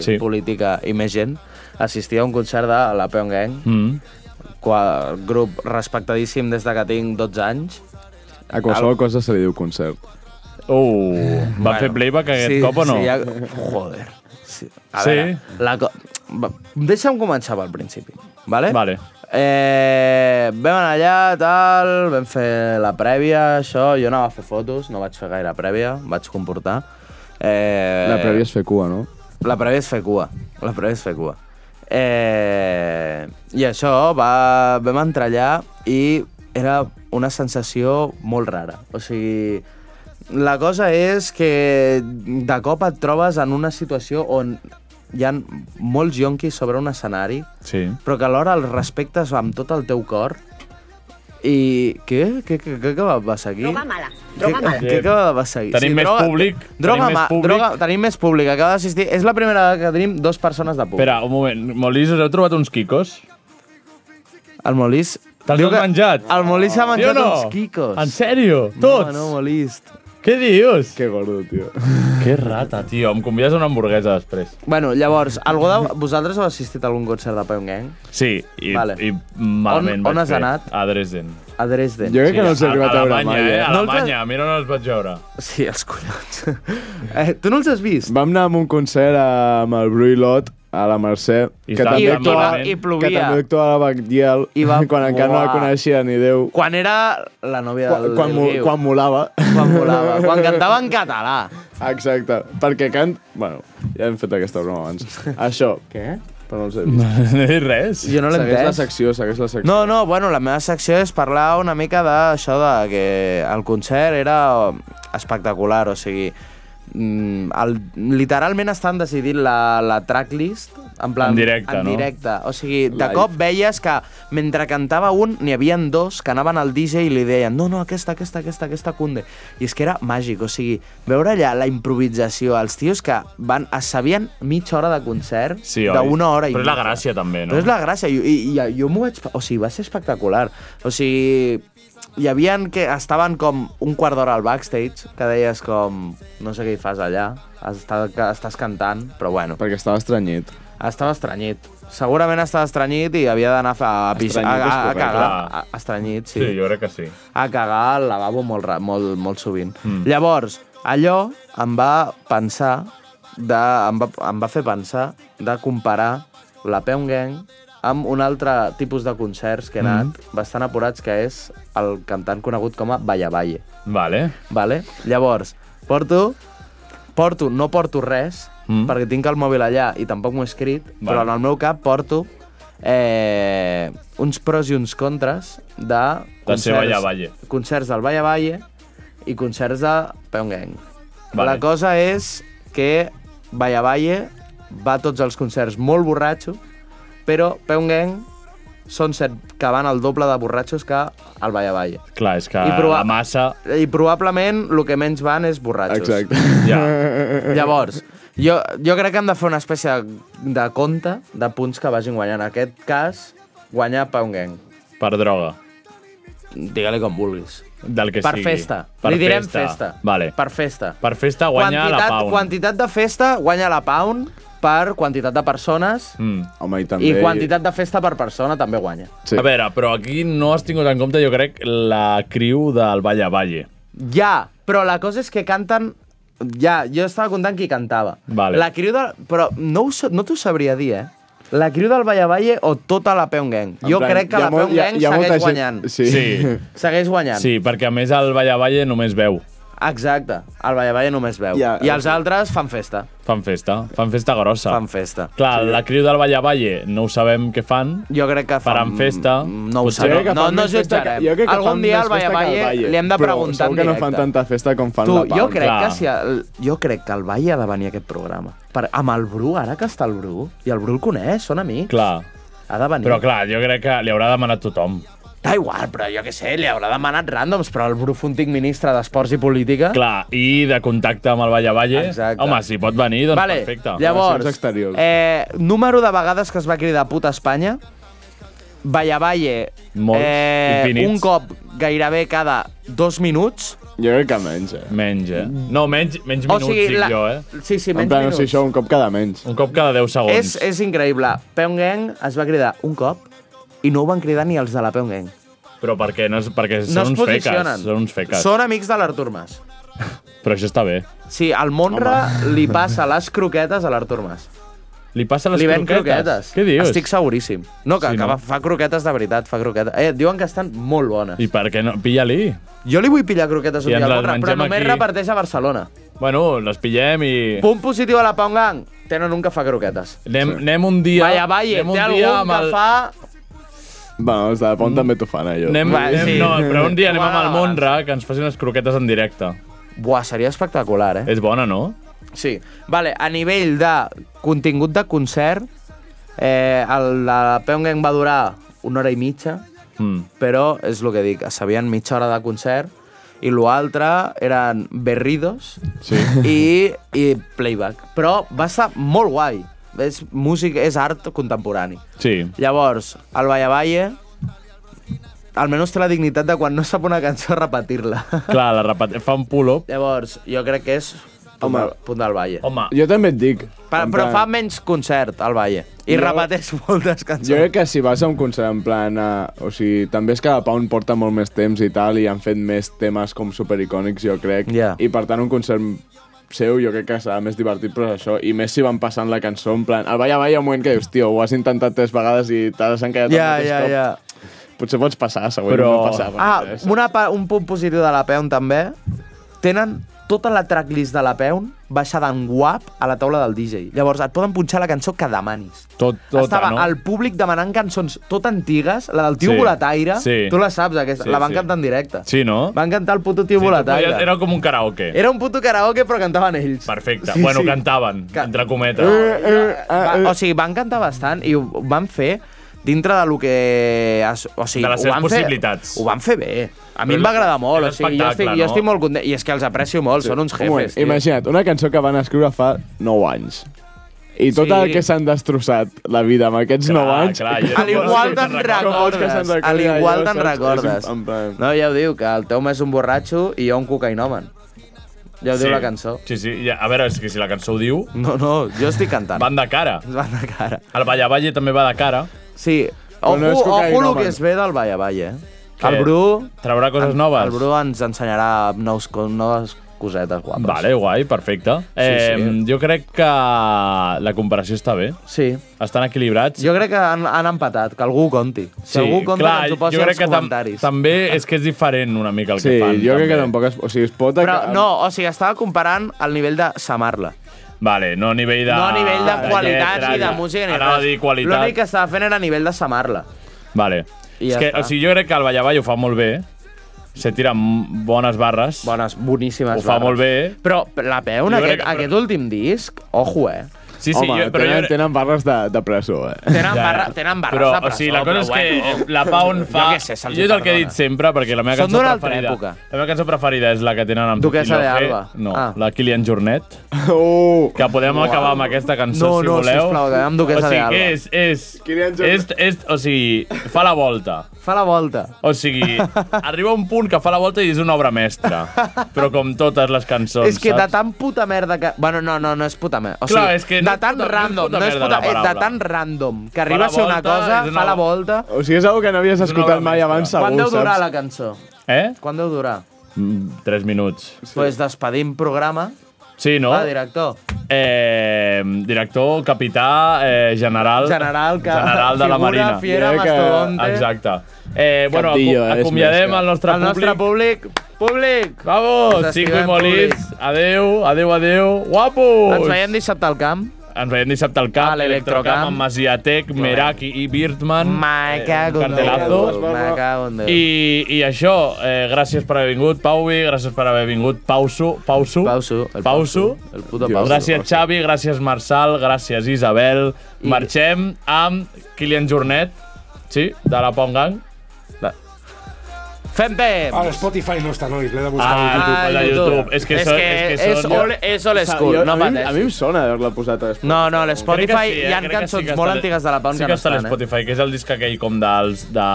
Speaker 4: sí. Política i més gent, assistir a un concert de la Peon Gang,
Speaker 3: Mm.
Speaker 4: qual, grup respectadíssim des de que tinc 12 anys.
Speaker 9: A qualsevol cosa se li diu concert.
Speaker 3: Uh, va fer playback aquest
Speaker 4: sí,
Speaker 3: cop o no?
Speaker 4: Sí, ja... Joder. Sí. A
Speaker 3: Sí?
Speaker 4: Veure, la co... va, Deixa'm començar pel principi, vale?
Speaker 3: Vale.
Speaker 4: Eh, vam anar allà, tal, vam fer la prèvia, això, jo anava a fer fotos, no vaig fer gaire prèvia, em vaig comportar. Eh,
Speaker 9: La prèvia és fer cua, no?
Speaker 4: la prèvia és fer cua. La prèvia és fer cua. Eh, I això, va, vam entrar allà i era una sensació molt rara. O sigui, la cosa és que de cop et trobes en una situació on hi ha molts yonquis sobre un escenari,
Speaker 3: Sí.
Speaker 4: però que alhora els respectes amb tot el teu cor i... Què? Què, què, què, què va passar aquí?
Speaker 18: Droga mala,
Speaker 4: Què,
Speaker 18: droga mala.
Speaker 4: què acaba de passar aquí?
Speaker 3: Tenim més públic,
Speaker 4: Droga,
Speaker 3: tenim
Speaker 4: ma,
Speaker 3: més públic.
Speaker 4: Droga, tenim més públic, acaba d'assistir. És la primera vegada que tenim dos persones de públic.
Speaker 3: Espera, un moment. Molís, us heu trobat uns quicos?
Speaker 4: El Molís...
Speaker 3: Te'ls has menjat?
Speaker 4: El Molís s'ha menjat
Speaker 3: no?
Speaker 4: uns quicos.
Speaker 3: En sèrio? Tots?
Speaker 4: No, no, Molís.
Speaker 3: Què dius?
Speaker 9: Que gordo, tio.
Speaker 3: Que rata, tio. Em convides a una hamburguesa després.
Speaker 4: Bueno, llavors, algú de vosaltres heu assistit a algun concert de Peon Gang?
Speaker 3: Sí, i,
Speaker 4: Vale.
Speaker 3: vale. i malament
Speaker 4: On-
Speaker 3: vaig
Speaker 4: on has
Speaker 3: fer.
Speaker 4: anat?
Speaker 3: A Dresden.
Speaker 4: A Dresden.
Speaker 9: Jo crec que no els he arribat a veure mai,
Speaker 3: eh?
Speaker 9: eh?
Speaker 3: A
Speaker 9: No els has-
Speaker 3: Alemanya, mira on els vaig veure.
Speaker 4: Sí, els collons. Eh, tu no els has vist?
Speaker 9: Vam anar a un concert amb el Bru i Lot a la Mercè,
Speaker 4: I
Speaker 9: que
Speaker 4: estava
Speaker 9: també,
Speaker 4: tan
Speaker 9: actuava,
Speaker 4: malament. I plovia.
Speaker 9: que també actuava a la Bagdiel, quan encara no la
Speaker 4: molar.
Speaker 9: coneixia ni Déu.
Speaker 4: Quan era la nòvia
Speaker 9: Quan,
Speaker 4: del,
Speaker 9: quan,
Speaker 4: del
Speaker 9: mo-
Speaker 4: Guiu.
Speaker 9: quan molava.
Speaker 4: Quan volava. Quan cantava en català.
Speaker 9: Exacte, perquè cant... Bueno, ja hem fet aquesta broma abans. Això. Què? Però no els he vist.
Speaker 3: Res.
Speaker 4: Jo no l'he
Speaker 9: Segueix la
Speaker 4: entès.
Speaker 9: secció, segueix la secció.
Speaker 4: No, no, bueno, la meva secció és parlar una mica d'això de que el concert era espectacular, o sigui, mm, el, literalment estan decidint la, la tracklist en, plan,
Speaker 3: En directe,
Speaker 4: en
Speaker 3: no?
Speaker 4: directe. O sigui, de
Speaker 3: Live.
Speaker 4: cop veies que mentre cantava un, n'hi havien dos que anaven al DJ i li deien no, no, aquesta, aquesta, aquesta, aquesta, Kunde. I és que era màgic, o sigui, veure allà la improvisació, els tios que van, es sabien mitja hora de concert,
Speaker 3: Sí, oi?
Speaker 4: d'una hora i
Speaker 3: Però és la
Speaker 4: mitja.
Speaker 3: gràcia, també, no?
Speaker 4: Però és la gràcia, i, i, i jo m'ho vaig... O sigui, va ser espectacular. O sigui, hi havia que estaven com un quart d'hora al backstage, que deies com, no sé què hi fas allà, estàs, estàs cantant, però bueno.
Speaker 9: Perquè estava estranyit.
Speaker 4: Estava estranyit. Segurament estava estranyit i havia d'anar a, a, pis- a,
Speaker 9: Estranyit
Speaker 4: a,
Speaker 9: és
Speaker 4: a, a
Speaker 9: correcte. Ah.
Speaker 4: cagar. A,
Speaker 9: Clar.
Speaker 4: estranyit, sí.
Speaker 3: Sí, jo crec que sí.
Speaker 4: A cagar al lavabo molt, ra- molt, molt sovint. Mm. Llavors, allò em va pensar de, em, va, em va fer pensar de comparar la Peum Gang amb un altre tipus de concerts que he anat, bastant apurats, que és el cantant conegut com a Valla Valle.
Speaker 3: Vale.
Speaker 4: Vale? Llavors, porto, porto, no porto res, mm. perquè tinc el mòbil allà i tampoc m'ho he escrit, vale. però en el meu cap porto eh, uns pros i uns contres de
Speaker 3: La seva Valla Valle.
Speaker 4: concerts del Valla Valle i concerts de Peon Gang.
Speaker 3: Vale.
Speaker 4: Vale. La cosa és que Valla Valle va a tots els concerts molt borratxo, però Peon Gang són set que van al doble de borratxos que al Valla Valle.
Speaker 3: Clar, és que
Speaker 4: I proba-
Speaker 3: la massa...
Speaker 4: I probablement el que menys van és borratxos.
Speaker 9: Exacte.
Speaker 3: Ja.
Speaker 4: Llavors, jo, jo crec que hem de fer una espècie de, de compte de punts que vagin guanyant. En aquest cas, guanyar Pound Gang.
Speaker 3: Per droga.
Speaker 4: Digue-li com vulguis.
Speaker 3: Del que
Speaker 4: per
Speaker 3: sigui.
Speaker 4: festa. Li direm festa.
Speaker 3: Vale.
Speaker 4: Per festa.
Speaker 3: Per festa guanya
Speaker 4: quantitat,
Speaker 3: la Pau.
Speaker 4: Quantitat de festa guanya la Pound per quantitat de persones
Speaker 3: Mm.
Speaker 9: Home, i
Speaker 4: i quantitat de festa per persona també guanya.
Speaker 3: Sí. A veure, però aquí no has tingut en compte, jo crec, la criu del Valla Valle.
Speaker 4: Ja, però la cosa és que canten... Ja, jo estava comptant qui cantava.
Speaker 3: Vale.
Speaker 4: La criu del... Però no, ho, sa- no t'ho sabria dir, eh? La criu del Valle Valle o tota la Peon Gang.
Speaker 3: En
Speaker 4: Jo
Speaker 3: plan,
Speaker 4: crec que
Speaker 3: hi ha
Speaker 4: la
Speaker 3: molt-
Speaker 4: Peon
Speaker 3: hi ha-
Speaker 4: Gang
Speaker 3: hi ha molta
Speaker 4: segueix
Speaker 3: gent-
Speaker 4: guanyant.
Speaker 3: sí. Sí.
Speaker 4: Segueix guanyant.
Speaker 3: Sí, perquè a més el Valla Valle només veu.
Speaker 4: Exacte. El Valle Valle només veu.
Speaker 3: Ja,
Speaker 4: I els altres fan festa.
Speaker 3: Fan festa, fan festa grossa. Fan
Speaker 4: festa.
Speaker 3: Clar, sí. la criu del Valla Valle no ho sabem què fan.
Speaker 4: Jo crec que
Speaker 3: Faran festa. No
Speaker 4: ho sabem. Ah, No- no us jutjarem. Algun dia al Valle Valle li hem de preguntar en
Speaker 9: Segur que no
Speaker 4: directe.
Speaker 9: fan tanta festa com fan
Speaker 4: tu,
Speaker 9: la Pau.
Speaker 4: jo crec que si el, jo crec que el Valle ha de venir a aquest programa. Per, amb el Bru, ara que està el Bru, i el Bru el coneix, són amics.
Speaker 3: Clar.
Speaker 4: Ha de venir.
Speaker 3: Però clar, jo crec que li haurà demanat tothom.
Speaker 4: Da igual, però jo què sé, li haurà demanat ràndoms, però el Brufuntic, ministre d'Esports i Política...
Speaker 3: Clar, i de contacte amb el Valla Valle.
Speaker 4: Exacte.
Speaker 3: Home, si pot venir, doncs
Speaker 4: vale,
Speaker 3: perfecte.
Speaker 4: Llavors, eh, número de vegades que es va cridar puta Espanya, Valla Valle,
Speaker 3: Molts, infinits.
Speaker 4: eh, un cop gairebé cada dos minuts.
Speaker 9: Jo crec que menys, eh?
Speaker 3: Menys, eh? No, menys, menys minuts, dic jo, eh?
Speaker 4: Sí, sí, menys
Speaker 9: en plan,
Speaker 4: minuts.
Speaker 9: o sigui, això un cop cada menys.
Speaker 3: Un cop cada 10
Speaker 4: És, és increïble. Pyongyang es va cridar un cop i no ho van cridar ni els de la Pyongyang.
Speaker 3: Però per què? No és, perquè
Speaker 4: no
Speaker 3: són
Speaker 4: es
Speaker 3: uns feques.
Speaker 4: posicionen.
Speaker 3: Són uns feques.
Speaker 4: Són amics de l'Artur Mas.
Speaker 3: Però això està bé.
Speaker 4: Sí, al Monra li passa les croquetes a l'Artur Mas.
Speaker 3: Li passa les
Speaker 4: li ven
Speaker 3: croquetes.
Speaker 4: croquetes.
Speaker 3: Què dius?
Speaker 4: Estic seguríssim. No, que, sí, que no? fa croquetes de veritat, fa croquetes. Eh, diuen que estan molt bones.
Speaker 3: I per què no? Pilla-li.
Speaker 4: Jo li vull pillar croquetes un
Speaker 3: I
Speaker 4: dia
Speaker 3: ens
Speaker 4: al
Speaker 3: les
Speaker 4: Monra, però
Speaker 3: mengem
Speaker 4: només
Speaker 3: aquí.
Speaker 4: reparteix a Barcelona.
Speaker 3: Bueno, les pillem i...
Speaker 4: Punt positiu a la Pongang. Tenen un que fa croquetes.
Speaker 3: Anem, anem un dia...
Speaker 4: Vaya, vaya,
Speaker 3: anem un
Speaker 4: té algun
Speaker 3: dia amb
Speaker 4: que
Speaker 3: el...
Speaker 4: fa...
Speaker 9: Bueno, els de
Speaker 4: Mm.
Speaker 9: la Pont també t'ho fan, eh, allò.
Speaker 3: Anem,
Speaker 4: Va,
Speaker 3: anem,
Speaker 4: sí.
Speaker 3: no, però un dia anem
Speaker 4: Ho
Speaker 3: amb el
Speaker 4: van
Speaker 3: Monra, que ens facin les croquetes en directe.
Speaker 4: Buah, seria espectacular, eh?
Speaker 3: És bona, no?
Speaker 4: Sí. Vale, a nivell de contingut de concert, eh, el, la Pyongyang va durar una hora i mitja,
Speaker 3: Mm.
Speaker 4: però és el que dic, es sabien mitja hora de concert, i l'altre eren berridos sí. i, i playback. Però va estar molt guai. És música, és art contemporani.
Speaker 3: Sí.
Speaker 4: Llavors, el Valla Valle almenys té la dignitat de quan no sap una cançó repetir-la.
Speaker 3: Clar, la repet... fa un pull-up.
Speaker 4: Llavors, jo crec que és punt,
Speaker 9: Home.
Speaker 4: del, punt del Valle.
Speaker 3: Home.
Speaker 9: Jo també et dic.
Speaker 4: Però,
Speaker 9: en
Speaker 4: però
Speaker 9: plan-
Speaker 4: fa menys concert al Valle. I
Speaker 9: Jo-
Speaker 4: repeteix moltes cançons.
Speaker 9: Jo crec que si vas a un concert en plan... A, o sigui, també és que la Pau en porta molt més temps i tal, i han fet més temes com supericònics, jo crec.
Speaker 4: Ja.
Speaker 9: I per tant, un concert seu, jo crec que serà més divertit, però és això. I més si van passant la cançó, en plan... El balla, balla, un moment que dius, tio, ho has intentat tres vegades i t'has encallat
Speaker 4: Ja,
Speaker 9: el mateix
Speaker 4: ja,
Speaker 9: cop.
Speaker 4: ja.
Speaker 9: Potser pots passar, següent,
Speaker 4: Però-
Speaker 9: no passar. per
Speaker 4: Ah,
Speaker 9: res.
Speaker 4: una, pa- un punt positiu de la Peon també. Tenen tota la tracklist de la Peon baixada en guap a la taula del DJ. Llavors et poden punxar la cançó que demanis.
Speaker 3: Tot, tota,
Speaker 4: Estava
Speaker 3: no?
Speaker 4: el públic demanant cançons tot antigues, la del tio
Speaker 3: Sí.
Speaker 4: Volataire,
Speaker 3: Sí.
Speaker 4: tu la saps aquesta,
Speaker 3: Sí,
Speaker 4: la van
Speaker 3: sí.
Speaker 4: cantar en directe.
Speaker 3: Sí, no?
Speaker 4: Van cantar el puto tio Volataire.
Speaker 3: era, era com un karaoke.
Speaker 4: Era un puto karaoke, però cantaven ells.
Speaker 3: Perfecte.
Speaker 4: Sí,
Speaker 3: bueno,
Speaker 4: sí. Eh,
Speaker 3: cantaven, entre cometes.
Speaker 4: Va, o sigui, van cantar bastant i ho van fer dintre de lo que... Es, o sigui,
Speaker 3: De les
Speaker 4: ho
Speaker 3: seves
Speaker 4: van fer-
Speaker 3: possibilitats.
Speaker 4: ho van fer bé. A mi
Speaker 9: Però
Speaker 4: em va
Speaker 9: és-
Speaker 4: agradar molt. O
Speaker 9: és
Speaker 4: sigui, jo, estic,
Speaker 9: espectacle,
Speaker 4: jo
Speaker 9: no?
Speaker 4: estic molt content. I és que els aprecio molt, sí. són uns
Speaker 9: Un moment,
Speaker 4: jefes. tio.
Speaker 9: Imagina't, una cançó que van escriure fa 9 anys. I
Speaker 4: Sí.
Speaker 9: tot sí. el que s'han destrossat la vida amb aquests
Speaker 4: Clar,
Speaker 9: 9 anys...
Speaker 4: clar, ja Al no vols igual que te'n te'n recordes. recordes. Al igual te'n recordes. No, ja ho diu, que el Tom és un borratxo i jo un cocainòman. Ja ho diu la cançó.
Speaker 3: Sí, sí. Ja, a veure, és que si la cançó ho diu...
Speaker 4: No, no, jo estic cantant.
Speaker 3: Van de cara.
Speaker 4: Van de cara.
Speaker 3: El Balla Valle també va de cara.
Speaker 4: Sí. Ojo, no ojo el que es ve del Valla Valla, eh?
Speaker 3: Què?
Speaker 4: El Bru...
Speaker 3: Traurà coses
Speaker 4: en- El
Speaker 3: noves?
Speaker 4: Bru ens ensenyarà nous, co- noves cosetes guapes.
Speaker 3: Vale, guai, perfecte. Sí, eh, sí. Jo crec que la comparació està bé.
Speaker 4: Sí.
Speaker 3: Estan equilibrats.
Speaker 4: Jo crec que han, han empatat, que algú ho conti. Si algú compta,
Speaker 3: clar,
Speaker 4: ens ho posi
Speaker 3: jo crec
Speaker 4: als
Speaker 3: que tam
Speaker 4: comentaris.
Speaker 3: també és que és diferent una mica el
Speaker 9: Sí,
Speaker 3: que fan.
Speaker 9: jo crec que
Speaker 3: també.
Speaker 9: tampoc es... O sigui, es pot...
Speaker 4: Però no, o sigui, estava comparant el nivell de Samarla.
Speaker 3: Vale, no a nivell de...
Speaker 4: no a nivell de qualitat
Speaker 3: lletra,
Speaker 4: ni de música ni
Speaker 3: Ah, Anava a dir qualitat.
Speaker 4: L'únic que estava fent era a nivell de Samarla.
Speaker 3: Vale.
Speaker 4: I
Speaker 3: I és
Speaker 4: ja
Speaker 3: que,
Speaker 4: està.
Speaker 3: o sigui, jo crec que el Ballavall ho fa molt bé. Se tira m- bones barres.
Speaker 4: Bones, boníssimes
Speaker 3: Ho fa
Speaker 4: barres.
Speaker 3: molt bé.
Speaker 4: Però la peu,
Speaker 3: Jo
Speaker 4: aquest,
Speaker 3: crec
Speaker 4: aquest últim disc, ojo, eh?
Speaker 3: Sí, sí,
Speaker 9: Home,
Speaker 3: jo- però jo
Speaker 9: tenen,
Speaker 3: crec-
Speaker 9: tenen barres de, de presó, eh?
Speaker 4: Tenen, barra, tenen barres
Speaker 3: però,
Speaker 4: de presó,
Speaker 3: o sigui, la cosa és
Speaker 4: però
Speaker 3: que
Speaker 4: bueno.
Speaker 3: eh, la Pau en fa...
Speaker 4: Jo què sé, se'ls
Speaker 3: jo és el que he
Speaker 4: perdona.
Speaker 3: dit sempre, perquè la meva
Speaker 4: Són
Speaker 3: cançó
Speaker 4: d'una altra
Speaker 3: preferida...
Speaker 4: època.
Speaker 3: La meva cançó preferida és la que tenen amb
Speaker 4: Duquesa de
Speaker 3: Joaquín Lofe.
Speaker 4: Alba.
Speaker 3: No,
Speaker 4: Ah.
Speaker 3: la Kilian Jornet.
Speaker 9: Oh.
Speaker 3: Que podem
Speaker 4: Uau.
Speaker 3: acabar amb aquesta cançó,
Speaker 4: No,
Speaker 3: si
Speaker 4: no,
Speaker 3: voleu.
Speaker 4: sisplau, acabem amb Duquesa
Speaker 3: o sigui,
Speaker 4: de Alba.
Speaker 3: que és, és,
Speaker 4: Kilian
Speaker 3: és,
Speaker 4: Jornet.
Speaker 3: és, o sigui, fa la volta.
Speaker 4: Fa la volta.
Speaker 3: O sigui, arriba un punt que fa la volta i és una obra mestra. Però com totes les cançons,
Speaker 4: és que de
Speaker 3: saps?
Speaker 4: tan puta merda que... Bueno, no, no, no és puta merda. O sigui,
Speaker 3: Clar, és que no
Speaker 4: de
Speaker 3: és
Speaker 4: tan
Speaker 3: puta- no és
Speaker 4: random,
Speaker 3: puta
Speaker 4: no és puta,
Speaker 3: merda la
Speaker 4: és de
Speaker 3: paraula.
Speaker 4: tan random que
Speaker 3: Fa
Speaker 4: arriba
Speaker 3: la
Speaker 4: a ser una
Speaker 3: volta,
Speaker 4: cosa,
Speaker 3: és una
Speaker 4: fa la
Speaker 3: obra-
Speaker 4: volta...
Speaker 9: O sigui, és una que no havies
Speaker 3: És una
Speaker 9: escoltat
Speaker 3: obra
Speaker 9: mai
Speaker 3: mestra.
Speaker 9: abans, segur,
Speaker 4: Quan deu durar
Speaker 9: saps?
Speaker 4: la cançó?
Speaker 3: Eh?
Speaker 4: Quan deu durar?
Speaker 3: Mm, Tres minuts.
Speaker 4: Doncs pues despedim programa.
Speaker 3: Sí, no?
Speaker 4: Va, director.
Speaker 3: Eh, director, capità, eh, general...
Speaker 4: General, que-
Speaker 3: general de la
Speaker 4: figura,
Speaker 3: Marina.
Speaker 4: fiera, Diré que- mastodonte.
Speaker 3: Exacte. Eh, bueno,
Speaker 9: Capdillo,
Speaker 3: aco
Speaker 9: eh, és
Speaker 3: acomiadem
Speaker 9: més que-
Speaker 3: el nostre
Speaker 4: El
Speaker 3: públic.
Speaker 4: nostre públic... Doncs Públic!
Speaker 3: Vamos,
Speaker 4: Ens
Speaker 3: cinco
Speaker 4: estimem,
Speaker 3: i molins. Adeu, adeu, adeu. Guapos!
Speaker 4: Ens veiem dissabte al camp.
Speaker 3: Ens veiem dissabte al camp,
Speaker 4: A l'Electrocamp. eh.
Speaker 3: l'Electrocamp, amb Masiatec, Meraki i Birdman.
Speaker 4: Me cago en Déu.
Speaker 3: Eh, Cartelazo.
Speaker 4: Me cago en Déu.
Speaker 3: I, I això, eh, gràcies per haver vingut, Pauvi, gràcies per haver vingut, Pauso, Pauso, Pauso, el Pauso,
Speaker 4: el puto Pauso.
Speaker 3: gràcies Xavi, gràcies Marçal, gràcies Isabel, I... marxem amb Kilian Jornet, sí, de la Pong Gang.
Speaker 4: La... Fem temps!
Speaker 10: Ara, Ah, Spotify no està, nois, l'he de buscar
Speaker 3: Ah,
Speaker 10: a YouTube.
Speaker 3: YouTube, la YouTube. És que,
Speaker 4: És
Speaker 3: són,
Speaker 4: que
Speaker 3: és que
Speaker 4: és
Speaker 3: són...
Speaker 4: old- és old school,
Speaker 9: jo,
Speaker 4: no
Speaker 9: a mi,
Speaker 4: pateixis.
Speaker 9: a mi em sona haver-la posat a Spotify.
Speaker 4: No, no, a l'Spotify
Speaker 3: Crec que
Speaker 4: hi
Speaker 3: eh?
Speaker 4: ha
Speaker 3: crec que
Speaker 4: cançons
Speaker 3: que
Speaker 4: molt
Speaker 3: està-
Speaker 4: antigues de la Pau
Speaker 3: sí
Speaker 4: que
Speaker 3: que
Speaker 4: no
Speaker 3: està a
Speaker 4: estan, eh?
Speaker 3: l'Spotify, que és el disc aquell com dels, de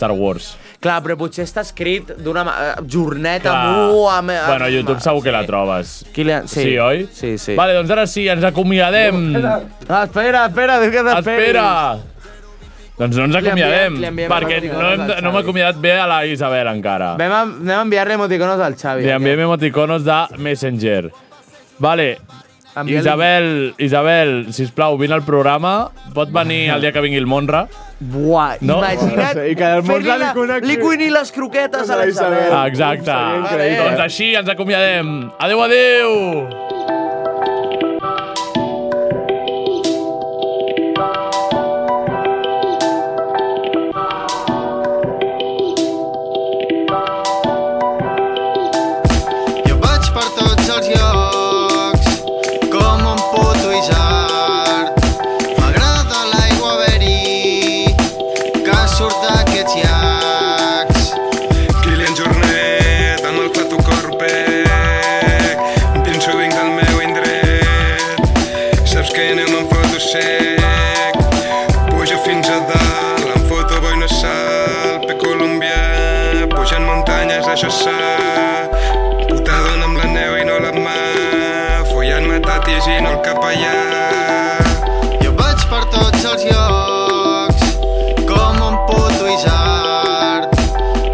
Speaker 3: Star Wars.
Speaker 4: Clar, però potser està escrit d'una ma- eh, jorneta
Speaker 3: Clar.
Speaker 4: amb... u, amb, amb
Speaker 3: Bueno, a YouTube segur que la trobes.
Speaker 4: Kilian, sí.
Speaker 3: Sí, oi?
Speaker 4: Sí, sí.
Speaker 3: Vale, doncs ara sí, ens acomiadem.
Speaker 4: Ah, espera, espera, diu que t'esperis.
Speaker 3: Espera! Doncs no ens
Speaker 4: Li enviem-
Speaker 3: acomiadem,
Speaker 4: li enviem
Speaker 3: perquè no,
Speaker 4: emoticonos
Speaker 3: hem,
Speaker 4: al
Speaker 3: no m'ha acomiadat bé a la Isabel encara.
Speaker 4: Vam, a- anem a enviar-li emoticonos al Xavi.
Speaker 3: Li enviem emoticonos de Messenger. Vale,
Speaker 4: Envia-li-
Speaker 3: Isabel, Isabel, sisplau, vine al programa. Pot venir el dia que vingui el Monra.
Speaker 4: Buah,
Speaker 3: No?
Speaker 4: imagina't
Speaker 9: I que el Monra
Speaker 4: fer-li
Speaker 9: li
Speaker 4: la-
Speaker 9: connecti.
Speaker 4: li cuini les croquetes a la Isabel.
Speaker 3: Ah, Exacte.
Speaker 4: increïble.
Speaker 3: Doncs així ens acomiadem. Adeu, adeu!
Speaker 17: Jo vaig per tots els llocs, com un puto isart. M'agrada l'aigua verí, que surt d'aquests llacs.
Speaker 18: Kilian Jornet, amb el fatu corpec, pinso dins del meu indret. Saps que anem amb foto sec, pujo fins a dalt, em foto boina sal, pe colombià, pujant muntanyes, això sa. Puta dona amb la neu i no la mà, follant-me tatis i no el capellà.
Speaker 17: Jo vaig per tots els llocs, com un puto isart.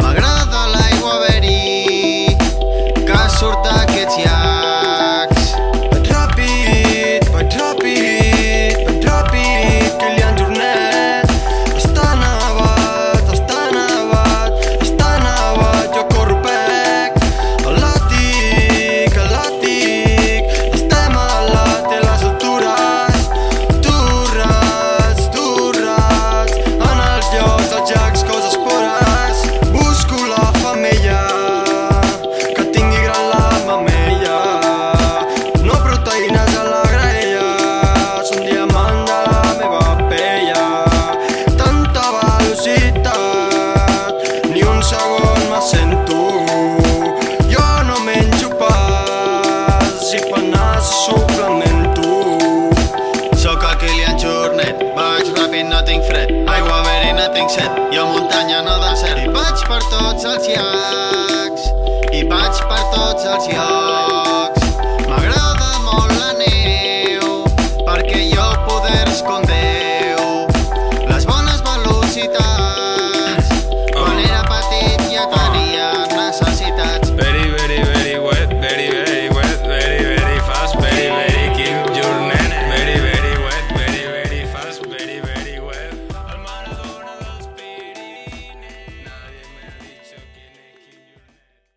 Speaker 17: M'agrada l'aigua verí, que surt d'aquests llacs. muntanya no de cel. I vaig per tots els llacs, i vaig per tots els llocs,